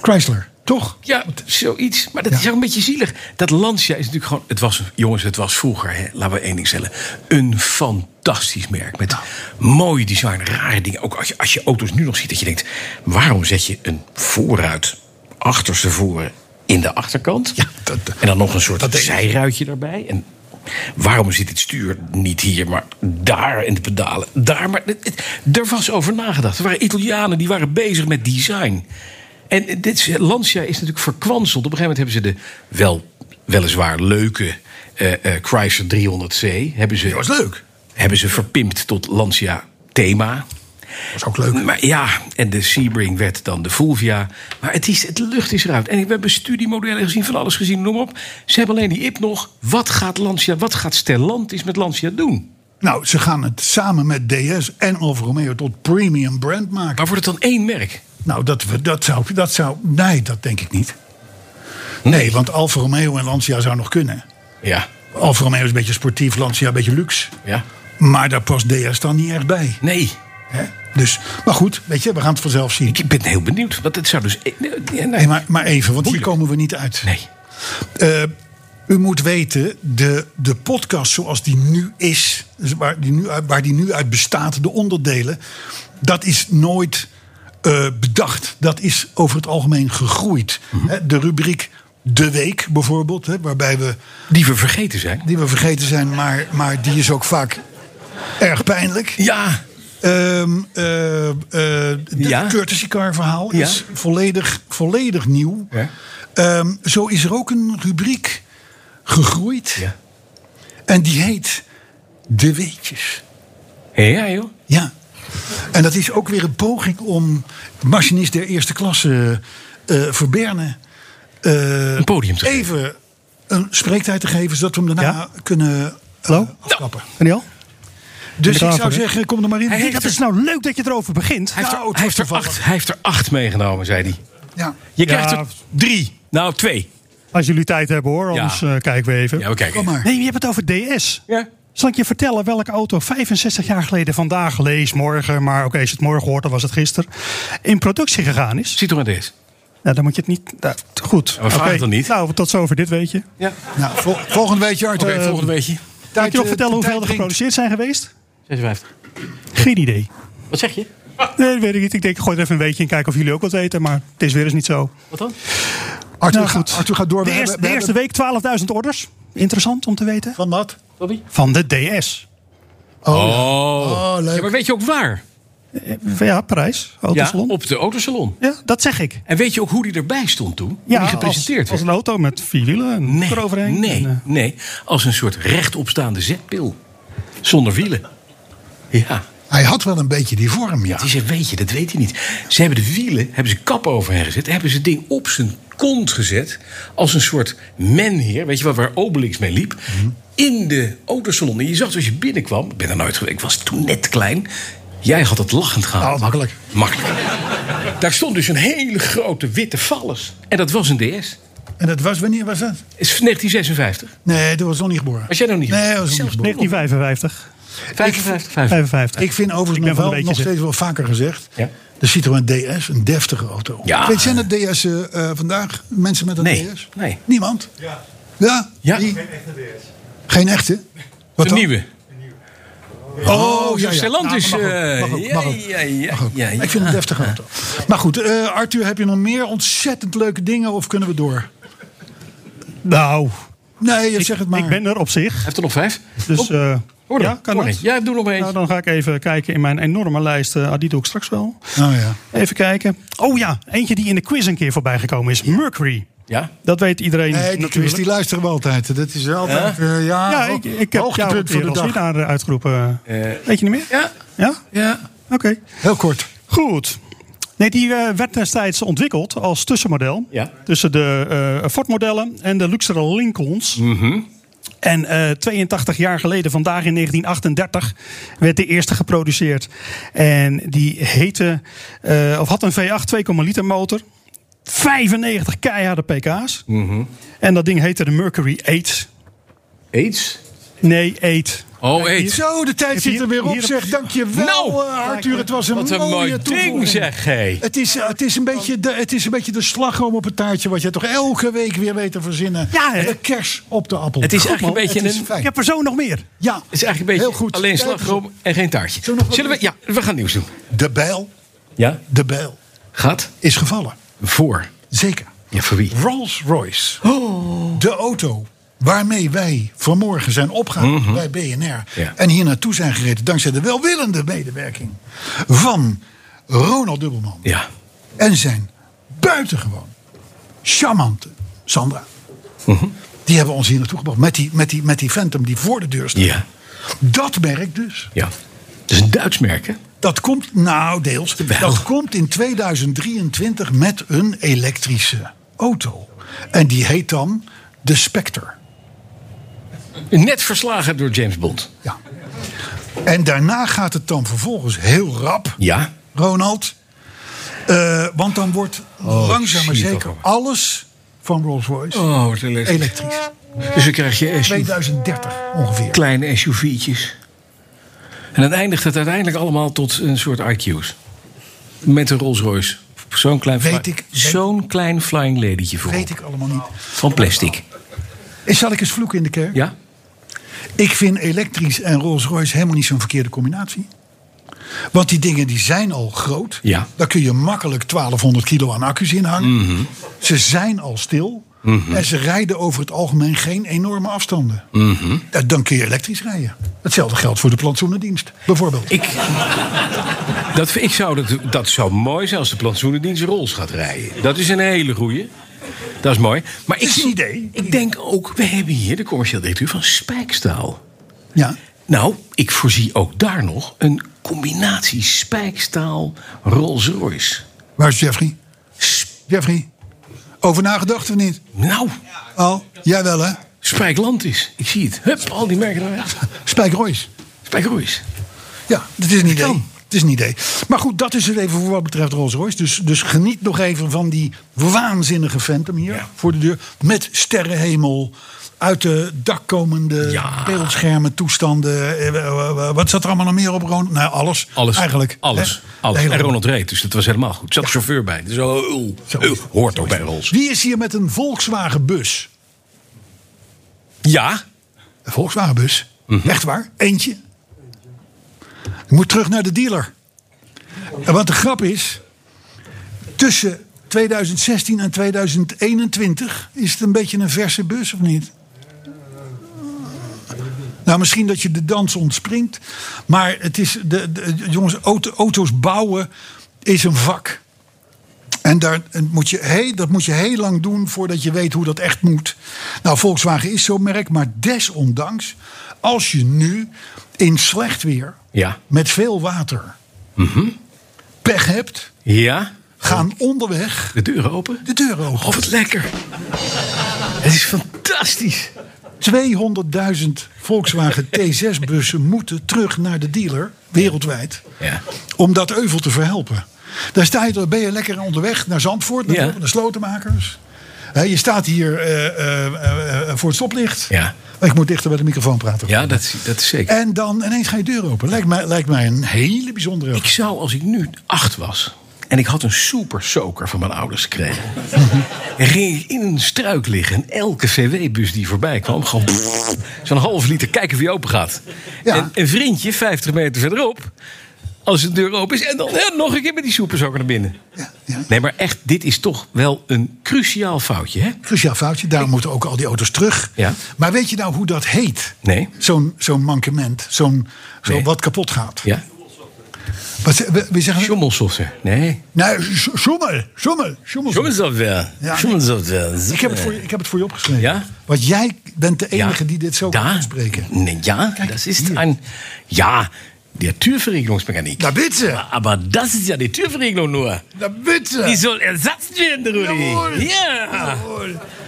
Chrysler, toch? Ja, zoiets. Maar dat is ook een beetje zielig. Dat Lancia is natuurlijk gewoon... Het was, jongens, het was vroeger, hè, laten we één ding stellen... een fantastisch merk. Met mooi design, rare dingen. Ook als je, als je auto's nu nog ziet, dat je denkt... waarom zet je een voorruit achterste voren in de achterkant? Ja, dat- en dan nog een soort dat denk ik. zijruitje erbij. En waarom zit het stuur niet hier, maar daar en de pedalen daar? Maar het, het- er was over nagedacht. Er waren Italianen die waren bezig met design. En dit is- Lancia is natuurlijk verkwanseld. Op een gegeven moment hebben ze de wel, weliswaar leuke eh, eh, Chrysler 300C. Hebben ze, was leuk. Hebben ze verpimpt tot Lancia Thema. Dat is ook leuk. Maar ja, en de Sebring werd dan de Fulvia. Maar het, is, het lucht is eruit. En we hebben studiemodellen gezien, van alles gezien, noem maar op. Ze hebben alleen die IP nog. Wat gaat Lancia, wat gaat Stellantis met Lancia doen? Nou, ze gaan het samen met DS en Alfa Romeo tot premium brand maken. Maar wordt het dan één merk? Nou, dat, we- dat, zou, dat zou... Nee, dat denk ik niet. Nee, want Alfa Romeo en Lancia zou nog kunnen. Ja. Alfa Romeo is een beetje sportief, Lancia een beetje luxe. Ja. Maar daar past DS dan niet echt bij. Nee. Hè? Dus, maar goed, weet je, we gaan het vanzelf zien. Ik ben heel benieuwd. Want het zou dus... eh, nee, nee, nee. Hey, maar, maar even, want hier Moeilijk. komen we niet uit. Nee. Eh, u moet weten, de, de podcast zoals die nu is, dus waar die nu, uit- waar die nu uit bestaat, de onderdelen, dat is nooit eh, bedacht. Dat is over het algemeen gegroeid. Mhm. Hè, De rubriek De Week bijvoorbeeld, hè, waarbij we, Die we vergeten zijn. die we vergeten zijn, maar, maar die is ook vaak erg pijnlijk. Ja. Ehm eh, eh, de Ja. courtesy car verhaal Ja. is volledig, volledig nieuw. Ja. Ehm, zo is er ook een rubriek gegroeid. Ja. En die heet De Weetjes. Ja, joh. Ja. En dat is ook weer een poging om machinist der eerste klasse eh Verberne eh, Een podium te geven. even een spreektijd te geven, zodat we hem daarna Ja? kunnen eh, Hallo? afkappen. Daniel? Dus ik ik klaar zou voor, hè? zeggen, kom er maar in. Hij Hey, heeft dat er- is nou leuk dat je erover begint. Hij heeft, er, Nou, het hij, heeft was er toevallig. acht, hij heeft er acht meegenomen, zei hij. Ja. Je Ja. krijgt er drie. Nou, twee. Als jullie tijd hebben hoor, Ja. anders eh, kijken we even. Ja, we kijken. Kom maar. Nee, je hebt het over DS. Ja. Zal ik je vertellen welke auto 65 jaar geleden vandaag, lees morgen, maar oké, als je het morgen hoort, dan was het gisteren, in productie gegaan is? Citroën DS. Nou, dan moet je het niet... nou, t- goed. we vragen Oké. het dan niet. Nou, tot zover dit weet je. Ja. Nou, vol- volgende week, Arthur. Oké, volgende weekje. Kan je nog eh, vertellen de hoeveel tijd er dringt. geproduceerd zijn geweest? 56. Geen idee. Wat zeg je? Nee, dat weet ik niet. Ik denk, ik gooi er even een weetje in, kijken of jullie ook wat weten. Maar het is weer eens niet zo. Wat dan? Arthur, Nou, gaat, goed. Arthur gaat door. We De eerste, de hebben- we eerste hebben- week 12.000 orders. Interessant om te weten. Van wat? Van de DS. Oh, Oh. leuk. Ja, maar weet je ook waar? Eh, Ja, Parijs. Ja, Autosalon. Ja, op de autosalon. dat zeg ik. En weet je ook hoe die erbij stond toen? Hoe Ja, die gepresenteerd als, als werd? een auto met vier wielen. en Nee, eroverheen. nee, En, eh, nee. Als een soort rechtopstaande zetpil. Zonder wielen. Ja, Hij had wel een beetje die vorm, ja. het is een weet je, dat weet hij niet. Ze hebben de wielen, hebben ze kap overheen gezet... hebben ze het ding op zijn kont gezet... als een soort menheer, weet je wel, waar Obelix mee liep... Mhm. in de autosalon. En je zag als je binnenkwam... ik ben er nooit geweest, ik was toen net klein... Jij had het lachend gehaald. Oh, makkelijk. Makkelijk. Daar stond dus een hele grote witte vallus. En dat was een DS. En dat was, wanneer was dat? Het is 1956. Nee, dat was nog niet geboren. Was jij nog niet? Nee, dat was nog niet Zelfs geboren. 1955. 55. 55. Ik vind Ik overigens ben nog, van wel, de nog weetjes, steeds wel vaker gezegd... Ja. de Citroën DS, een deftige auto. Ja. Weet, zijn er DS eh, eh, vandaag? Mensen met een Nee, DS? nee. Niemand? Ja, Ja? Ja. Die- geen echte DS. Geen echte? De Wat dan? nieuwe. Oh, ja, ja. Stellant is... Nou, maar Mag ook, mag ook, eh, mag ook. ja, ja, Mag ook. ja, ja. Ik vind het een deftige auto. Maar goed, eh, Arthur, heb je nog meer ontzettend leuke dingen of kunnen we door? Nou, Nee, zeg het maar. ik ben er op zich. Heeft er nog vijf? Dus, eh, Hoor ja, kan dat? Ja, doe nog maar Nou, eens. dan ga ik even kijken in mijn enorme lijst. eh, ah, die doe ik straks wel. Oh ja. Even kijken. Oh ja, eentje die in de quiz een keer voorbij gekomen is. Mercury. Ja. Dat weet iedereen Nee, die quiz natuurlijk. die luisteren we altijd. Dat is altijd, eh, ja, ja, ik, ik heb jou een hoogtepunt van keer de als dag. winnaar eh, uitgeroepen. weet je niet meer? Ja. Ja? Ja. Oké. Heel kort. Goed. Nee, die eh, werd destijds ontwikkeld als tussenmodel. Ja. Tussen de eh, Ford-modellen en de luxere Lincolns. En eh, 82 jaar geleden, vandaag in 1938, werd de eerste geproduceerd. En die heette, eh, of had een V8 2,0 liter motor. 95 keiharde pk's. En dat ding heette de Mercury 8. AIDS? Nee, 8. Oh, AIDS. Zo, de tijd zit er weer op, zeg. Dankjewel, Nou, eh, Arthur. Het was een, Wat een mooi mooie ding, toevoeging. zeg. hé. Het is, eh, het, is een beetje de, het is een beetje de slagroom op het taartje... wat je toch elke week weer weet te verzinnen. Ja, hè? de kers op de appel. Het is eigenlijk een Het beetje is een... fijn. Ik heb er zo nog meer. Ja, Het is eigenlijk een beetje Heel goed. alleen Kijk eens slagroom en geen taartje. Zullen we nog wat Zullen we... Ja, we gaan nieuws doen. de bijl, Ja? de bijl Gaat? is gevallen. Voor. Zeker. Ja, voor wie? Rolls Royce. Oh. De auto waarmee wij vanmorgen zijn opgehaald bij BNR. Mhm. Ja. En hier naartoe zijn gereden dankzij de welwillende medewerking van Ronald Dubbelman. Ja. En zijn buitengewoon charmante Sandra. Mhm. Die hebben ons hier naartoe gebracht. Met die, met, die, met die Phantom die voor de deur staat. Ja. Dat merk dus. Ja. Het is een Duits merk, hè? Dat komt, nou deels, Jawel. dat komt in 2023 met een elektrische auto. En die heet dan de Spectre. Net verslagen door James Bond. Ja. En daarna gaat het dan vervolgens heel rap, Ja. Ronald. Eh, want dan wordt langzaam maar zie het zeker al komen. alles van Rolls-Royce Oh, wat een les. elektrisch. Dus dan krijg je SUV, 2030 ongeveer. kleine SUV'tjes. En dan eindigt het uiteindelijk allemaal tot een soort IQ's. Met een Rolls Royce. Zo'n klein, fly- Weet ik- weet- zo'n klein flying ladytje voor. Weet ik allemaal niet. Van plastic. Eh, Zal ik eens vloeken in de kerk? Ja? Ik vind elektrisch en Rolls-Royce helemaal niet zo'n verkeerde combinatie. Want die dingen die zijn al groot. Ja. Mhm. Daar kun je makkelijk 1200 kilo aan accu's in hangen. Ze zijn al stil. En ze rijden over het algemeen geen enorme afstanden. Mhm. Ja, Dan kun je elektrisch rijden. Hetzelfde geldt voor de plantsoenendienst, bijvoorbeeld. Ik, dat, ik zou dat, dat zou mooi zijn als de plantsoenendienst Rolls gaat rijden. Dat is een hele goeie. Dat is mooi. Maar ik, is een idee. ik denk ook, we hebben hier de commercieel directeur van Spijkstaal. Ja. Nou, ik voorzie ook daar nog een combinatie spijkstaal Rolls-Royce. Waar is Jeffrey? Sp- Jeffrey? Over nagedacht of niet? nou, Oh, jij wel hè? Spijkland is. Ik zie het. Hup, al die merken eruit. Spijk Royce. Spijkroeis. Ja, dat is een idee. Het is een idee. Maar goed, dat is het even voor wat betreft Rolls Royce. Dus, dus geniet nog even van die waanzinnige Phantom hier Ja. voor de deur. Met sterrenhemel, uit de dak komende Ja. beeldschermen, toestanden. eh, eh, eh, Wat zat er allemaal nog meer op? Ron? Nou, alles. Alles. Eigenlijk. Alles. Hè? alles. De hele En Ronald reed, dus dat was helemaal goed. Er zat een chauffeur bij. Dus, oh, oh, oh, hoort ook bij Rolls. Wie is hier met een Volkswagen bus? Ja, Mhm. Een Volkswagen bus? Echt waar? Eentje? Ik moet terug naar de dealer. En wat de grap is... Tussen 2016 en 2021 is het een beetje een verse bus, of niet? Nou, misschien dat je de dans ontspringt. Maar het is... De, de- jongens, auto- auto's bouwen is een vak. En daar en moet je, hey, dat moet je heel lang doen voordat je weet hoe dat echt moet. Nou, Volkswagen is zo'n merk, maar desondanks, als je nu in slecht weer, Ja. met veel water, pech hebt, ja. gaan onderweg De deuren open. de deur open. Oh, wat lekker. Het is fantastisch. 200.000 Volkswagen T6-bussen moeten terug naar de dealer, wereldwijd, Ja. om dat euvel te verhelpen. Daar sta je, dan ben je lekker onderweg naar Zandvoort, naar Ja. de slotenmakers. Hè, je staat hier eh, eh, eh, eh, voor het stoplicht. Ja. Ik moet dichter bij de microfoon praten. Ja, dat, is- dat is zeker. En dan ineens ga je deur open. Lijkt mij, lijkt mij een hele bijzondere. Ik zou, als ik nu acht was en ik had een super soaker van mijn ouders gekregen, en ging ik in een struik liggen en elke CW-bus die voorbij kwam, gewoon zo'n half liter kijken of die open gaat. Ja. En een vriendje, 50 meter verderop, als de deur open is, en dan hè, nog een keer met die super soaker naar binnen. ja. Nee, maar echt, dit is toch wel een cruciaal foutje, hè? Cruciaal foutje. Daarom moeten ook al die auto's terug. Ja. Maar weet je nou hoe dat heet? Nee. Zo'n zo'n mankement. Zo'n zo Nee. wat kapot gaat. Ja? Wat, ze- we, we zeggen. Schommelsoftware. Nee. Nee, s- schommel. Schommel. Schommel. Schommelsoftware. Ja, nee. Schommelsoftware. Ik heb, het voor je, ik heb het voor je opgeschreven. Ja? Want jij bent de enige die dit zo kan da, uitspreken. Nee, ja, das ist ein. Ja, der Türverriegelungsmechanik. Na bitte. Aber das ist ja die Türverriegelung nur. Na bitte. Die soll ersetzt werden, Jawohl. Rudi. Ja.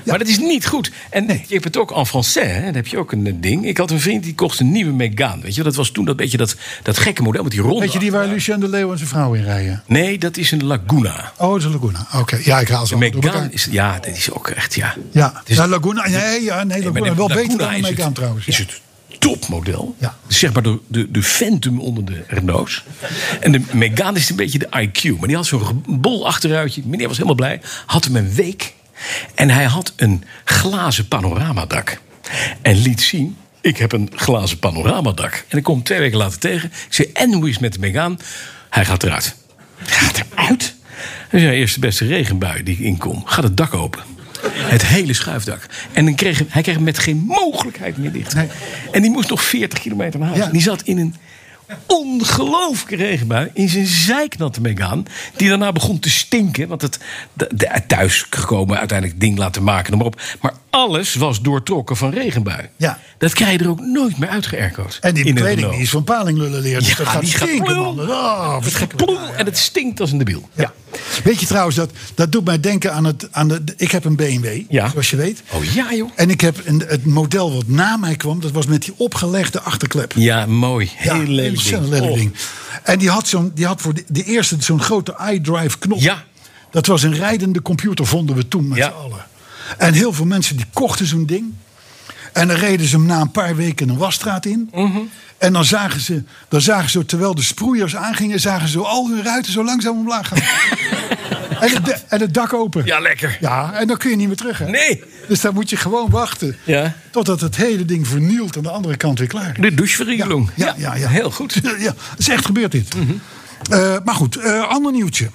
Maar dat is niet goed. En je hebt het ook en français, hè? dan heb je ook een eh, ding. Ik had een vriend die kocht een nieuwe Megane. Weet je, dat was toen dat beetje dat, dat gekke model met die ronde. Weet je die waar Lucien de Leeuw en zijn vrouw in rijden? Nee, dat is een Laguna. Oh, dat is een Laguna. Oké, ja, ik haal ze De allemaal Oh, door Megane elkaar. is, ja, dat is ook echt, ja. Ja, is- Nou, Laguna. Nee, ja, nee, Nee, Laguna. maar de Wel beter Laguna dan de is Megane het- trouwens. Is ja. het topmodel. Ja. Zeg maar de, de, de Phantom onder de Renaults. En de Megane is een beetje de IQ. Maar die had zo'n bol achteruitje. Meneer was helemaal blij. Had hem een week. En hij had een glazen panoramadak. En liet zien... Ik heb een glazen panoramadak. En ik kom hem twee weken later tegen. Ik zei, en hoe is het met de Megane? Hij gaat eruit. Hij gaat eruit? Dus ja, eerst de beste regenbui die inkom. Gaat het dak open. Het hele schuifdak. En dan kreeg, hem- hij kreeg hem met geen mogelijkheid meer dicht. Nee. En die moest nog 40 kilometer naar huis. Ja. En Die zat in een ongelooflijke regenbui. In zijn zeiknatte Megane. Die daarna begon te stinken. Want het de, de- thuis gekomen uiteindelijk ding laten maken. noem Maar, op. maar alles was doortrokken van regenbui. Ja. Dat krijg je er ook nooit meer uitgeërkoot. En die In een kleding Renault. die is van palinglullen leer. Dus Ja, dat gaat die gaat stinken, ploem. man. Oh, Het gaat verschrikkelijk. ploem en het stinkt als een debiel. Ja. Weet je trouwens, dat, dat doet mij denken aan het. Aan de, ik heb een BMW, Ja. zoals je weet. Oh ja, joh. En ik heb een, het model wat na mij kwam, dat was met die opgelegde achterklep. Ja, mooi. Heel Ja, lelijk. ontzettend ding. lelijk Oh. ding. En die had, zo'n, die had voor de, de eerste zo'n grote iDrive knop. Ja. Dat was een rijdende computer, vonden we toen met Ja. z'n allen. En heel veel mensen die kochten zo'n ding. En dan reden ze hem na een paar weken een wasstraat in. Mhm. En dan zagen, ze, dan zagen ze, terwijl de sproeiers aangingen, zagen ze al hun ruiten zo langzaam omlaag gaan. en, het, de- en het dak open. Ja, lekker. Ja, en dan kun je niet meer terug. Hè? Nee. Dus dan moet je gewoon wachten. Ja. Totdat het hele ding vernield aan de andere kant weer klaar is. De doucheverriegeling. Ja, ja, ja. Heel goed. Mhm. Ja, ja, het is echt gebeurd dit. Eh, maar goed, eh, ander nieuwtje.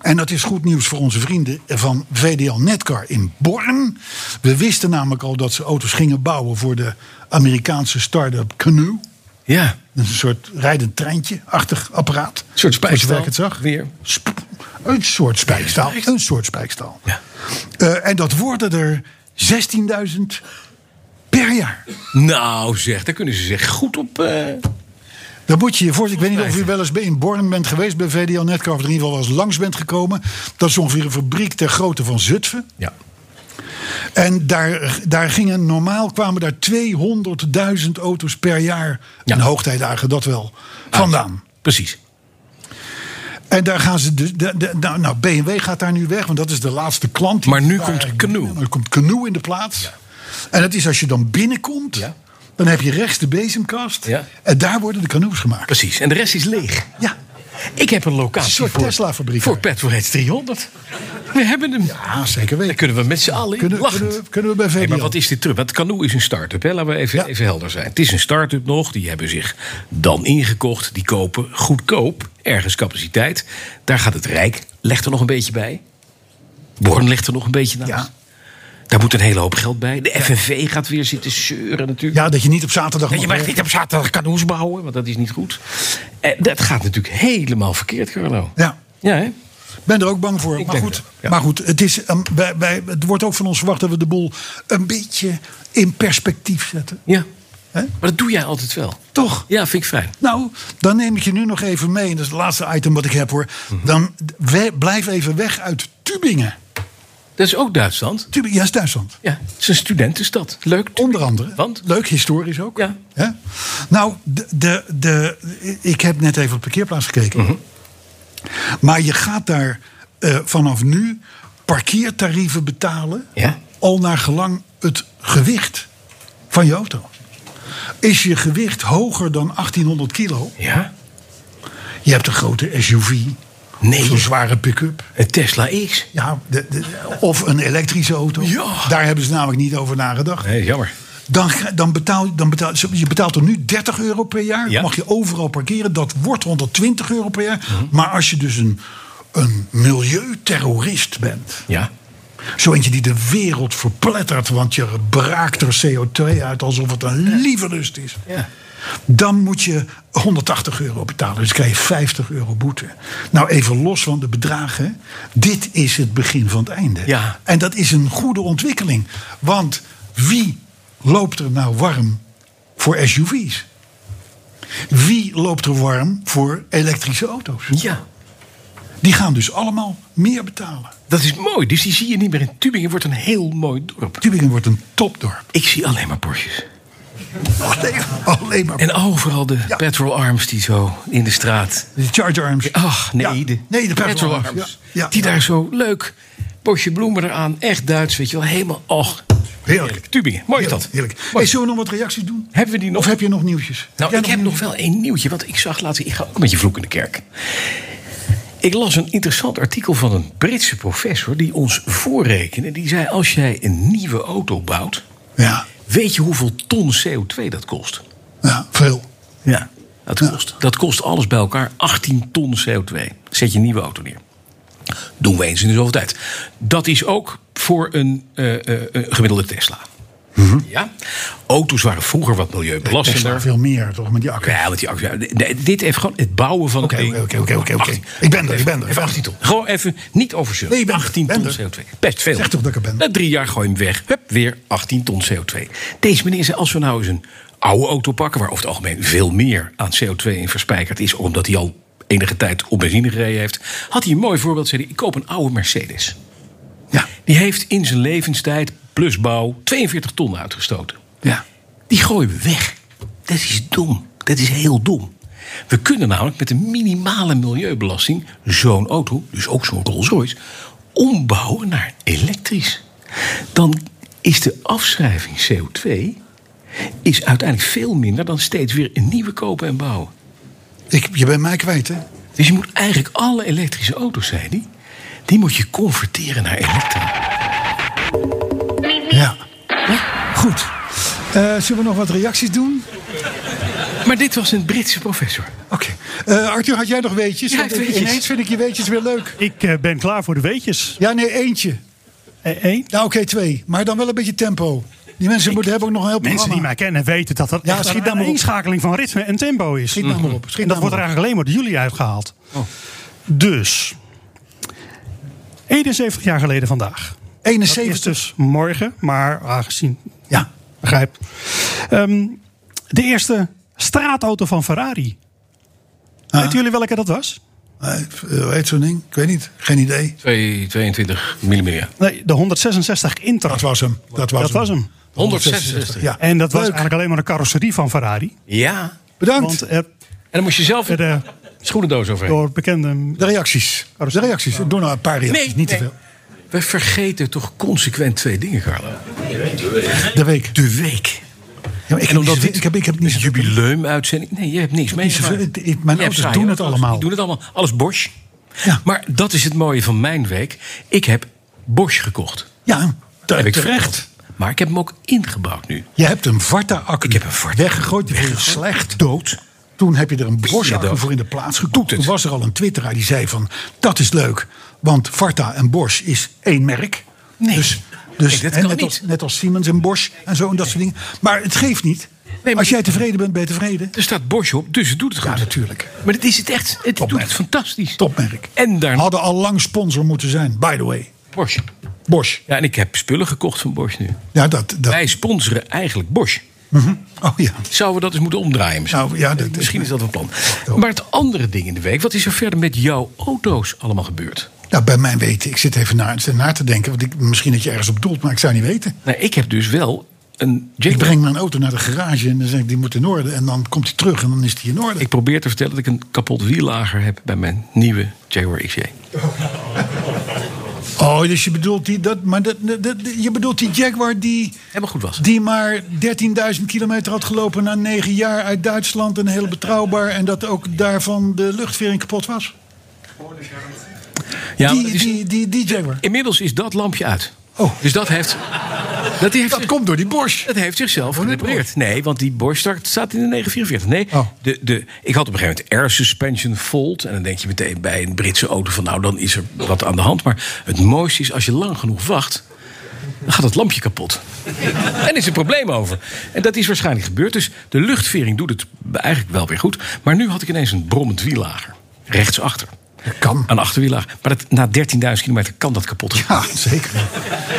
En dat is goed nieuws voor onze vrienden van VDL Netcar in Born. We wisten namelijk al dat ze auto's gingen bouwen voor de Amerikaanse start-up Canoe. Ja. Dat is een soort rijdend treintje-achtig apparaat. Een soort spijkstaal. Zoals ik het zag. Weer. Sp- een soort spijkstaal. Een soort spijkstaal. Ja. Eh, en dat worden er 16.000 per jaar. Nou zeg, daar kunnen ze zich goed op... eh, Dat Dan moet je je voorstellen. Ik weet niet of u wel eens bij- in Born bent geweest bij VDL Netcraft. In ieder geval wel eens langs bent gekomen. Dat is ongeveer een fabriek ter grootte van Zutphen. Ja. En daar, daar gingen normaal kwamen daar 200.000 auto's per jaar. Ja. In hoogtijdagen, dat wel. Vandaan. Precies. En daar gaan ze. De, de, de- nou, nou, BMW gaat daar nu weg, want dat is de laatste klant. die Maar nu daar komt eigenlijk Canoe. binnen- Er komt Canoe in de plaats. En dat is als je dan binnenkomt. Ja. Dan heb je rechts de bezemkast. Ja. En daar worden de canoes gemaakt. Precies. En de rest is leeg. Ja. Ik heb een locatie Een soort voor, Tesla-fabriek. voor Petrolheads 300. We hebben hem. Ah, zeker Daar weten. kunnen we met z'n allen in. Kunnen, Lachend. kunnen, we- kunnen we bij VDL. Hey, maar wat is dit terug? Want Canoe is een start-up, hè? laten we even, Ja. even helder zijn. Het is een start-up nog, die hebben zich dan ingekocht. Die kopen goedkoop, ergens capaciteit. Daar gaat het Rijk, legt er nog een beetje bij. Born legt er nog een beetje naast. Ja. Daar moet een hele hoop geld bij. De FNV gaat weer zitten zeuren natuurlijk. Ja, dat je niet op zaterdag. En nog je mag werkt. niet op zaterdag kanoes bouwen, want dat is niet goed. Eh, dat gaat natuurlijk helemaal verkeerd, Carlo. Ja. Ja, hè? Ik ben er ook bang voor. Ik maar, denk goed, het ook, ja. maar goed, het, is, ehm, wij, wij, het wordt ook van ons verwacht dat we de boel een beetje in perspectief zetten. Ja. Hè? Maar dat doe jij altijd wel. Toch? Ja, vind ik fijn. Nou, dan neem ik je nu nog even mee. En dat is het laatste item wat ik heb hoor. Mhm. Dan we- blijf even weg uit Tübingen. Dat is ook Duitsland. Tübingen, ja, is Duitsland. Ja, het is een studentenstad. Leuk. Onder andere. Want? Leuk, historisch ook. Ja. Hè? Nou, de, de, de, ik heb net even op de parkeerplaats gekeken. Mhm. Maar je gaat daar eh, vanaf nu parkeertarieven betalen. Ja. Al naar gelang het gewicht van je auto. Is je gewicht hoger dan 1800 kilo? Ja. Je hebt een grote SUV. Nee. Of een zware pick-up. Een Tesla X. Ja, de- de- of een elektrische auto. Ja. Daar hebben ze namelijk niet over nagedacht. Nee, jammer. Dan, ga- dan betaal, dan betaal, je betaalt er nu 30 euro per jaar. Ja. Mag je overal parkeren. Dat wordt 120 euro per jaar. Mhm. Maar als je dus een, een milieuterrorist bent. Ja. Zo eentje die de wereld verplettert. Want je braakt er CO2 uit alsof het een lievelust is. Ja. Dan moet je 180 euro betalen. Dus krijg je 50 euro boete. Nou, even los van de bedragen. Dit is het begin van het einde. Ja. En dat is een goede ontwikkeling. Want wie loopt er nou warm voor SUV's? Wie loopt er warm voor elektrische auto's? Ja. Die gaan dus allemaal meer betalen. Dat is mooi. Dus die zie je niet meer in Tübingen. wordt een heel mooi dorp. Tübingen wordt een topdorp. Ik zie alleen maar Porsches. Och, nee, alleen maar. En overal de Ja. petrol arms die zo in de straat. De Charge Arms. Ach, nee. Ja. De, nee, de petrol, arms. Ja. Ja. Die daar zo leuk. Bosje bloemen eraan. Echt Duits, weet je wel. Helemaal. Och. Heerlijk. Tübingen. Mooi is dat. Heerlijk. heerlijk. Mooi. Hey, zullen we nog wat reacties doen? Hebben we die nog? Of heb je nog nieuwsjes? Nou, Jij ik heb nieuws? nog wel één nieuwtje, want ik zag laatst... Ik ga ook met je vloek in de kerk. Ik las een interessant artikel van een Britse professor... die ons voorrekende. Die zei, als jij een nieuwe auto bouwt... Ja, weet je hoeveel ton CO2 dat kost? ja veel. Ja. Dat kost, dat kost alles bij elkaar 18 ton CO2. Zet je een nieuwe auto neer. Doen we eens in de zoveel tijd. Dat is ook voor een eh, eh, eh, gemiddelde Tesla. Ja? Auto's waren vroeger wat Tesla milieubelastender. veel meer, toch? Met die accu. Ja, want die actie. nee, nee, dit heeft gewoon het bouwen van. Oké, een ding. oké, oké, oké, oké, oké. 18. Ik ben er, ik ben er. Even 18 ton. Gewoon even niet over zeuren. Nee, ik ben er, 18 ben ton er. CO2. Best veel. Zeg toch dat ik er ben. Na drie jaar gooi je hem weg. Hup, weer 18 ton CO2. Deze meneer zei: als we nou eens een oude auto pakken. waar over het algemeen veel meer aan CO2 in verspijkerd is. omdat hij al enige tijd op benzine gereden heeft. had hij een mooi voorbeeld. zei hij: ik koop een oude Mercedes. Ja. Die heeft in zijn levenstijd plus bouw 42 ton uitgestoten. Ja. Die gooien we weg. Dat is dom. Dat is heel dom. We kunnen namelijk met een minimale milieubelasting zo'n auto, dus ook zo'n Rolls-Royce, ombouwen naar elektrisch. Dan is de afschrijving CO2 is uiteindelijk veel minder dan steeds weer een nieuwe kopen en bouwen. Ik, je bent mij kwijt, hè? Dus je moet eigenlijk alle elektrische auto's, zei die, die moet je converteren naar elektra. Ja. Goed. Eh, zullen we nog wat reacties doen? Maar dit was een Britse professor. Oké. Eh, Arthur, had jij nog weetjes? Ja, Want ik weetjes. Ineens vind ik je weetjes weer leuk. Ik eh, ben klaar voor de weetjes. Ja, nee, eentje. Eh, één. Nou, oké, twee. Maar dan wel een beetje tempo. Die mensen moeten, hebben ook nog een heel Mensen die programma. mij kennen weten dat dat Ja, echt schiet een nou maar op. inschakeling van ritme en tempo is. Schiet nou maar op, schiet en nou dat maar op. wordt er Oh. eigenlijk alleen maar door jullie uitgehaald. Dus, 71 jaar geleden vandaag. Dat is 71. dus morgen, maar aangezien, Ja. begrijp. Ehm, de eerste straatauto van Ferrari Ah. Weten jullie welke dat was? Nee, eh, hoe heet zo'n ding? Ik weet niet. Geen idee. 2, 22 mm. Nee, de 166 Inter. Dat was hem. Dat was, Dat hem. was hem. 166. Ja. En dat was Leuk. eigenlijk alleen maar de carrosserie van Ferrari. Ja. Bedankt. Want er, En dan moest je zelf er, een eh, schoenendoos overheen. door bekende... de reacties. Oh, De reacties. Doe nou een paar reacties. Nee, niet nee. te veel. We vergeten toch consequent twee dingen, Carlo. De week. De week. Ja, maar ik, En heb omdat niet, dit- ik, heb, ik heb niet zoveel. Jubileum-uitzending. Nee, je hebt niks meegemaakt. zoveel. Ik- ik- mijn Je hebt ouders saaie doen het ouders. allemaal. Die doen het allemaal. Alles Bosch. Ja. Maar dat is het mooie van mijn week. Ik heb Bosch gekocht. Ja, daar heb ik verrecht. Maar ik heb hem ook ingebouwd nu. Je hebt een varta-accu Ik heb een varta- weggegooid. Die vond je slecht. Dood. Toen heb je er een Bosch-accu dood. voor in de plaats Doet gekocht. het. Toen was er al een twitteraar die zei van... dat is leuk, want Varta en Bosch is één merk. Nee. Dus, dus Nee, dat hè, kan net, niet. Als, net als Siemens en Bosch en zo en dat soort dingen. Maar het geeft niet. maar- als jij tevreden bent, ben je tevreden. Er staat Bosch op, dus het doet het Ja, goed. natuurlijk. Maar het is het echt. Het doet Topmerk. het fantastisch. Topmerk. En daarna Hadden al lang sponsor moeten zijn, by the way. Bosch. Bosch. Ja, en ik heb spullen gekocht van Bosch nu. Ja, dat... dat Wij sponsoren eigenlijk Bosch. mhm. Oh ja. Zouden we dat eens moeten omdraaien? Misschien, Nou, ja, dat- misschien is dat een plan. Maar het andere ding in de week. Wat is er verder met jouw auto's allemaal gebeurd? Nou, bij mijn weten. Ik zit even na, na te denken. Want ik, misschien dat je ergens op doelt, maar ik zou niet weten. Nou, ik heb dus wel een Ik Jaguar. breng mijn auto naar de garage en dan zeg ik, die moet in orde. En dan komt hij terug en dan is die in orde. Ik probeer te vertellen dat ik een kapot wiellager heb bij mijn nieuwe Jaguar E. XJ. oh, dus je bedoelt die, dat, maar dat, dat- dat- je bedoelt die Jaguar die, Helemaal goed was. het. die maar 13.000 kilometer had gelopen na negen jaar uit Duitsland. En heel betrouwbaar. En dat ook daarvan de luchtvering kapot was. Ja, maar die, het is- die, die, die Jaguar. inmiddels is dat lampje uit. Oh. Dus dat heeft. Dat, heeft Dat komt door die Bosch. Dat heeft zichzelf gerepareerd. Nee, want die borststart staat in de 944. Nee, Oh. de, de, ik had op een gegeven moment air suspension fault. En dan denk je meteen bij een Britse auto van nou, dan is er wat aan de hand. Maar het mooiste is als je lang genoeg wacht, dan gaat het lampje kapot. en is er probleem over. En dat is waarschijnlijk gebeurd. Dus de luchtvering doet het eigenlijk wel weer goed. Maar nu had ik ineens een brommend wielager. Rechtsachter. Dat kan. Een achterwielager. Maar dat, na 13.000 kilometer kan dat kapot. gaan. Ja, zeker.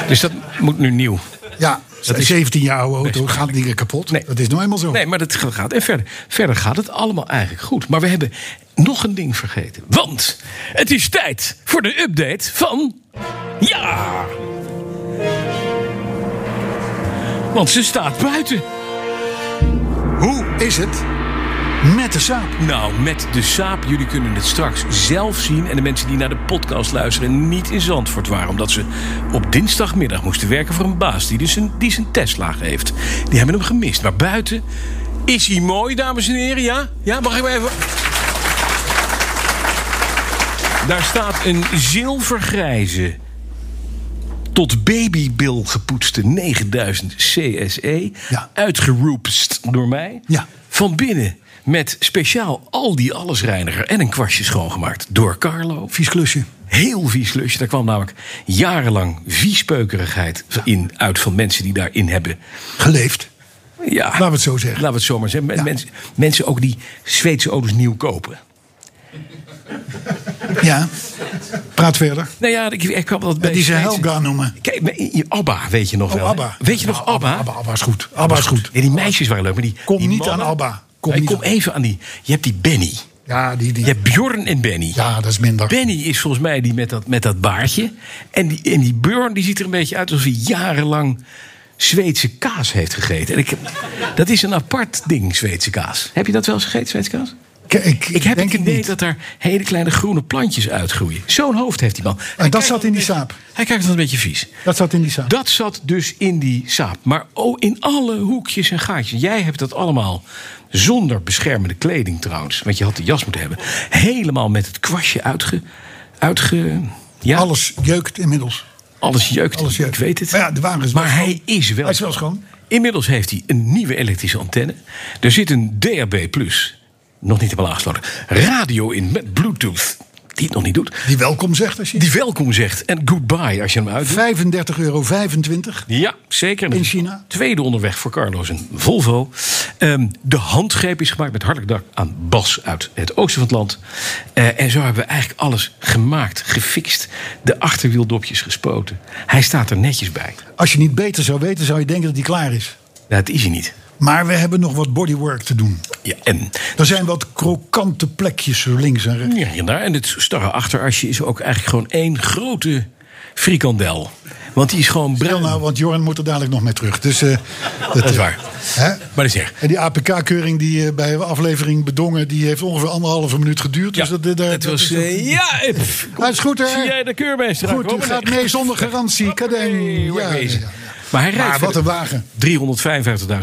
Dus dat moet nu nieuw. Ja, Dat is- 17 jaar oude Nee, auto is gaat dingen kapot. Nee. Dat is nou eenmaal zo. Nee, maar dat gaat. En verder, verder gaat het allemaal eigenlijk goed. Maar we hebben nog een ding vergeten. Want het is tijd voor de update van. Ja! Want ze staat buiten. Hoe is het met de saap? Nou, met de saap. Jullie kunnen het straks zelf zien. En de mensen die naar de podcast luisteren niet in Zandvoort waren. Omdat ze op dinsdagmiddag moesten werken voor een baas die, dus een, die zijn Tesla heeft. Die hebben hem gemist. Maar buiten is hij mooi, dames en heren. Ja, ja mag ik maar even... Daar staat een zilvergrijze tot babybil gepoetste 9000 CSE. Ja. Uitgeroepst E door mij. Ja. Van binnen met speciaal al die allesreiniger en een kwastje schoongemaakt door Carlo. Vies klusje. Heel vies lusje. Daar kwam namelijk jarenlang viespeukerigheid in uit van mensen die daarin hebben. Geleefd. Ja. Laten we het zo zeggen. Laten we het zo maar zeggen. Men- Mensen, mensen ook die Zweedse auto's nieuw kopen. Ja. Praat verder. Nou ja, ik, ik kwam dat bij die ze Zweedse- Helga noemen. Kijk, maar in- in Abba weet je nog Oh, wel. hè? Abba. Weet je Ja, nog Abba? Abba, Abba is goed. Abba is goed. Ja, die meisjes waren leuk, maar die Kom die niet mannen- aan Abba. Kom Nee, niet kom aan- even aan die. Je hebt die Benny. Ja, die, die. Je hebt Bjorn en Benny. ja dat is minder. Benny is volgens mij die met dat, met dat baardje. En die, en die Bjorn die ziet er een beetje uit alsof hij jarenlang Zweedse kaas heeft gegeten. En ik, dat is een apart ding, Zweedse kaas. Heb je dat wel eens gegeten, Zweedse kaas? ik, ik, Ik heb denk het het idee niet. dat daar hele kleine groene plantjes uitgroeien. Zo'n hoofd heeft die man. Hij dat kijkt zat wel in die een beetje- saap. Hij kijkt wel een beetje vies. Dat zat in die saap. Dat zat dus in die saap. Maar oh, in alle hoekjes en gaatjes. Jij hebt dat allemaal zonder beschermende kleding trouwens. Want je had de jas moeten hebben. Helemaal met het kwastje uitge... uitge ja, Alles jeukt inmiddels. alles jeukt. Alles jeukt. Ik weet het. Maar ja, de wagen is wel Maar schoon. hij is wel Hij is wel schoon. Inmiddels heeft hij een nieuwe elektrische antenne. Er zit een DAB+, nog niet helemaal aangesloten, radio in met bluetooth. Die het nog niet doet. Die welkom zegt als je. Die welkom zegt en goodbye als je hem uitdoet. 35,25 euro. Ja, zeker. In China. Tweede onderweg voor Carlos en Volvo. Ehm, de handgreep is gemaakt met hartelijk dank aan Bas uit het oosten van het land. Eh, en zo hebben we eigenlijk alles gemaakt, gefixt. De achterwieldopjes gespoten. Hij staat er netjes bij. Als je niet beter zou weten, zou je denken dat die klaar is. Nou, dat is hij niet. Maar Maar we hebben nog wat bodywork te doen. Ja, en Er zijn wat krokante plekjes zo links en rechts. Ja, en daar. En het starre achterasje is ook eigenlijk gewoon één grote frikandel. Want die is gewoon Stil bruin. nou, want Joran moet er dadelijk nog mee terug. Dus, eh, Dat is waar. Hè? Maar dat is echt. En die APK-keuring die eh, bij aflevering bedongen... die heeft ongeveer anderhalve minuut geduurd. Dus Ja, dat, dat, dat- het was, dat is- eh, ja, eh, pff, Hij is goed, hè? zie jij de keurmeester Goed, u aankomen? gaat Nee. mee zonder garantie. Kadeng. Hey, Ja, ja, wegwezen. ja. Maar hij rijdt Maar wat verder. een wagen.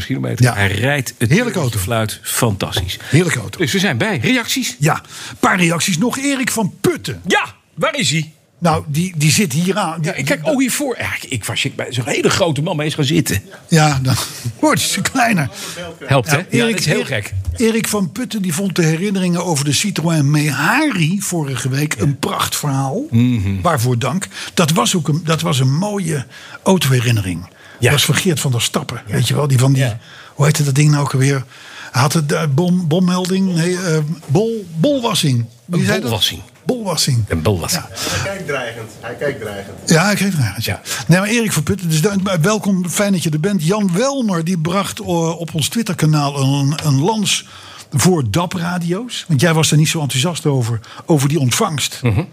355.000 kilometer. Ja. Hij rijdt het Heerlijke auto. fluit fantastisch. Heerlijke auto. Dus we zijn bij. Reacties? Ja, een paar reacties. Nog Erik van Putten. Ja, waar is hij? Nou, die, die zit hier aan. Die- Ja, ik kijk ook hiervoor. Ja, ik- ik was ik bij zo'n hele grote man mee is gaan zitten. Ja, dan wordt ze kleiner. Nou, Helpt, hè? Ja, dat is heel Erik- gek. Erik van Putten die vond de herinneringen over de Citroën Mehari vorige week een prachtverhaal. Mhm. Waarvoor dank. Dat was ook een, dat was een mooie autoherinnering. Dat was van Geert van der Stappen. Weet je wel, die van die. Hoe heette dat ding nou ook alweer? Hij Had het eh, bom, bommelding? Nee, eh, bol, bolwassing. Wie Een zei dat? bolwassing. Bolwassing. Een bulwas. Ja. Hij kijkt dreigend. Hij kijkt dreigend. Ja, ik geef het ergens, ja. Nee, maar Erik van Putten, dus da- welkom, fijn dat je er bent. Jan Welmer, die bracht eh, op ons Twitterkanaal een, een lans voor DAP-radio's. Want jij was daar niet zo enthousiast over, over die ontvangst. Mhm.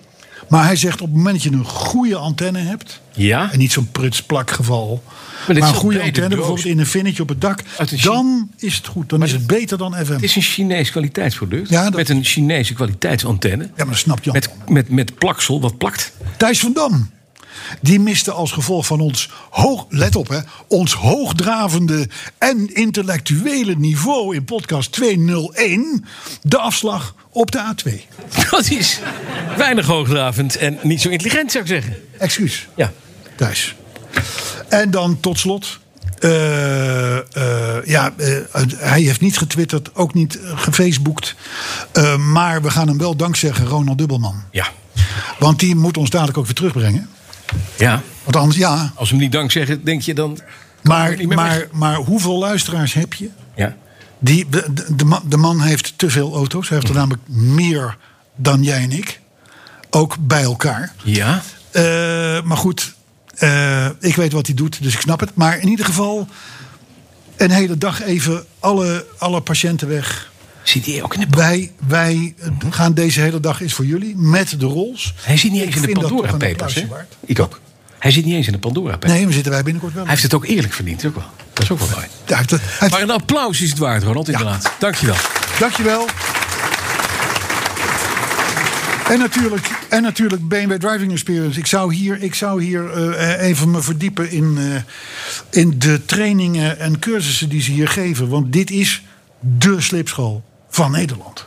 Maar hij zegt, op het moment dat je een goede antenne hebt... Ja. en niet zo'n pruts-plakgeval... dit maar, is een toch goede bij de antenne, doos? bijvoorbeeld in een vinnetje op het dak... Uit een dan is het goed, dan is het beter dan FM. Het is een Chinees kwaliteitsproduct. Ja, dat- Met een Chinese kwaliteitsantenne. Ja, maar dat snap je Met, allemaal. met, met plaksel, wat plakt. Thijs van Dam. Die miste als gevolg van ons hoog, let op hè, ons hoogdravende en intellectuele niveau in podcast 201 de afslag op de A2. Dat is weinig hoogdravend en niet zo intelligent, zou ik zeggen. Excuus, Ja. Thijs. En dan tot slot. eh, eh, ja, eh, hij heeft niet getwitterd, ook niet eh, gefaceboekt. Eh, maar we gaan hem wel dankzeggen, Ronald Dubbelman. Ja. Want die moet ons dadelijk ook weer terugbrengen. Ja. Want anders, ja, Als we hem niet dank zeggen, denk je dan... Maar, niet meer maar, weg. maar hoeveel luisteraars heb je? Ja. Die, de, de- de, man, de man heeft te veel auto's. Hij heeft er namelijk meer dan jij en ik. Ook bij elkaar. Ja. Eh, maar goed, eh, ik weet wat hij doet, dus ik snap het. Maar in ieder geval een hele dag even alle, alle patiënten weg. Zit hij ook in de... Wij, wij eh, gaan deze hele dag is voor jullie met de Rolls. Hij zit niet Ik eens in de vind dat toch een Pandora Papers, hè? applausje waard. Ik ook. Hij zit niet eens in de Pandora Papers. Nee, we zitten wij binnenkort wel. Hij heeft het ook eerlijk verdiend, ook wel. Dat is ook wel mooi. Ja, het- het- Maar een applaus is het waard, Ronald, inderdaad. Dankjewel. Dankjewel. En natuurlijk, en natuurlijk BMW Driving Experience. Ik zou hier, ik zou hier eh, even me verdiepen in, eh, in de trainingen en cursussen die ze hier geven. Want dit is de slipschool van Nederland.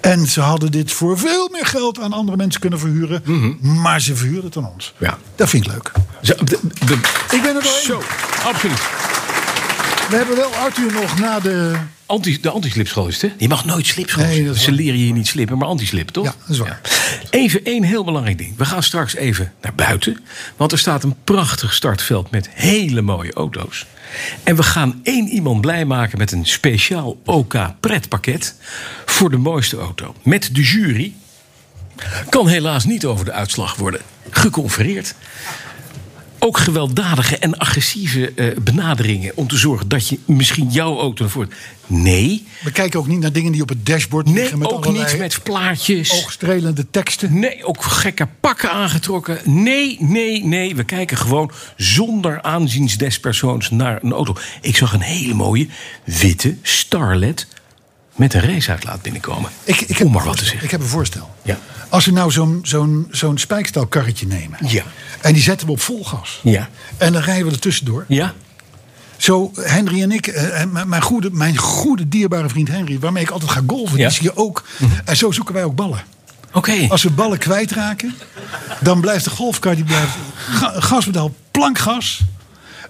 En ze hadden dit voor veel meer geld aan andere mensen kunnen verhuren. Maar ze verhuurden het aan ons. Mhm. Ja. Dat vind ik leuk. Zo, de- de- Ik ben er doorheen. Zo, absoluut. We hebben wel Arthur nog na de... Anti, de antislipschool is het, hè? Je mag nooit slipschool. Nee, dat is Ze waar. leren je niet slippen, maar antislip, toch? Ja, dat is waar. Ja. Even één heel belangrijk ding. We gaan straks even naar buiten. Want er staat een prachtig startveld met hele mooie auto's. En we gaan één iemand blij maken met een speciaal OK pretpakket... voor de mooiste auto. Met de jury. Kan helaas niet over de uitslag worden geconfereerd. Ook gewelddadige en agressieve eh, benaderingen om te zorgen dat je misschien jouw auto voort. Nee, We kijken ook niet naar dingen die op het dashboard nee, liggen. Met ook allerlei niets met plaatjes. oogstrelende teksten. Nee, ook gekke pakken aangetrokken. Nee, nee, nee. We kijken gewoon zonder aanziens des persoons naar een auto. Ik zag een hele mooie witte Starlet met een raceuitlaat binnenkomen. om maar wat te zeggen. Ik heb een voorstel. Ja. Als we nou zo'n zo'n zo'n spijkstalkarretje nemen. Ja. En die zetten we op vol gas. Ja. En dan rijden we er tussendoor. Ja? Zo, Henry en ik, eh, en mijn, mijn goede, mijn goede dierbare vriend Henry, waarmee ik altijd ga golven, Ja. Mhm. die zie je ook. En zo zoeken wij ook ballen. Oké. Als we ballen kwijtraken, dan blijft de golfkar die blijft ga- gaspedaal plankgas.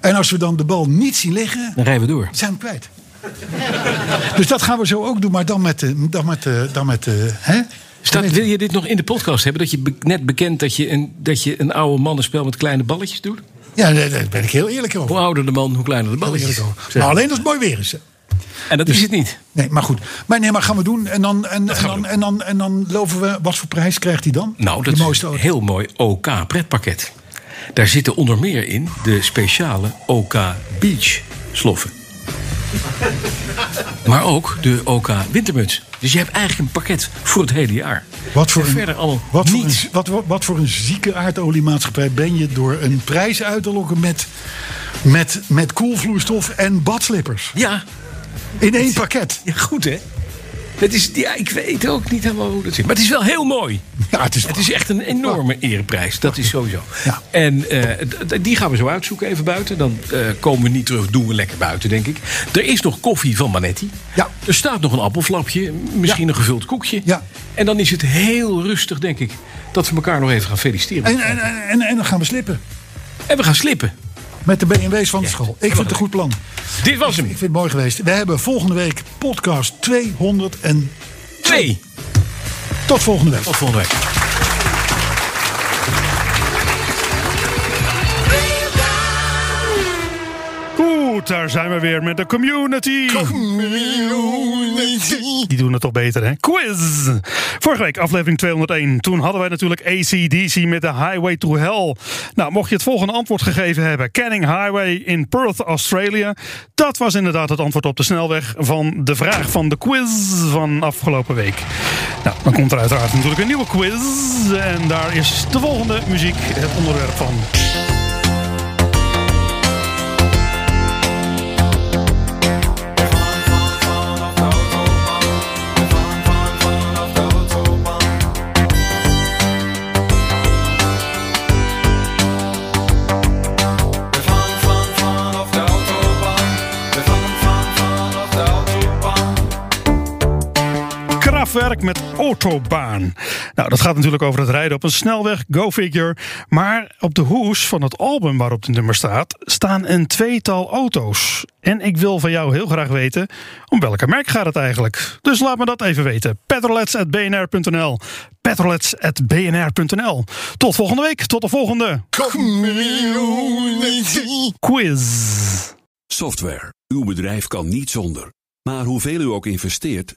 En als we dan de bal niet zien liggen, Dan rijden we door. zijn we kwijt. dus dat gaan we zo ook doen, maar dan met, de- dan met, de- dan met de- hè? Staat, wil je dit nog in de podcast hebben? Dat je be- net bekend dat je, een, dat je een oude mannenspel met kleine balletjes doet? Ja, daar daar ben ik heel eerlijk over. Hoe ouder de man, hoe kleiner de Heel balletjes. eerlijk over. Zeg. Maar alleen als het mooi weer is. hè. en dat is het niet. Nee, maar goed. Maar nee, maar gaan we doen. En dan, en, gaan en we dan, doen. en dan, en dan loven we. Wat voor prijs krijgt hij dan? Nou, de dat is mooiste een auto. heel mooi OK pretpakket. Daar zitten onder meer in de speciale OK Beach sloffen. Maar ook de OK wintermuts. Dus je hebt eigenlijk een pakket voor het hele jaar. Wat voor, en verder een, allemaal wat, voor niets. een, wat, wat, wat voor een zieke aardoliemaatschappij ben je door een prijs uit te lokken met, met, met koelvloeistof en badslippers? Ja, In één pakket. ja, goed hè. Het is, ja, ik weet ook niet helemaal hoe dat zit. Maar het is wel heel mooi. Ja, het is, Het is echt een enorme ereprijs, dat is sowieso. Ja. En eh, d- d- die gaan we zo uitzoeken even buiten. Dan eh, komen we niet terug, doen we lekker buiten, denk ik. Er is nog koffie van Manetti. Ja. Er staat nog een appelflapje, misschien een gevuld koekje. Ja. En dan is het heel rustig, denk ik, dat we elkaar nog even gaan feliciteren. en, en, en, en, en dan gaan we slippen. En we gaan slippen. Met de BMW's van de school. Ik vind het een goed plan. Dit was hem. Ik vind het mooi geweest. We hebben volgende week podcast 200 en Twee. tot volgende week. Tot volgende week. Goed, daar zijn we weer met de community. Die doen het toch beter, hè? Quiz! Vorige week, aflevering 201. Toen hadden wij natuurlijk ACDC met de Highway to Hell. Nou, mocht je het volgende antwoord gegeven hebben. Canning Highway in Perth, Australia. Dat was inderdaad het antwoord op de snelweg van de vraag van de quiz van afgelopen week. Nou, dan komt er uiteraard natuurlijk een nieuwe quiz. En daar is de volgende muziek het onderwerp van. Kraftwerk met Autobaan. Nou, dat gaat natuurlijk over het rijden op een snelweg, go figure. Maar op de hoes van het album waarop het nummer staat, staan een tweetal auto's. En ik wil van jou heel graag weten om welke merk gaat het eigenlijk. Dus laat me dat even weten. Petrolets.bnr.nl Petrolets.bnr.nl Tot volgende week, tot de volgende quiz. Software. Uw bedrijf kan niet zonder. Maar hoeveel u ook investeert,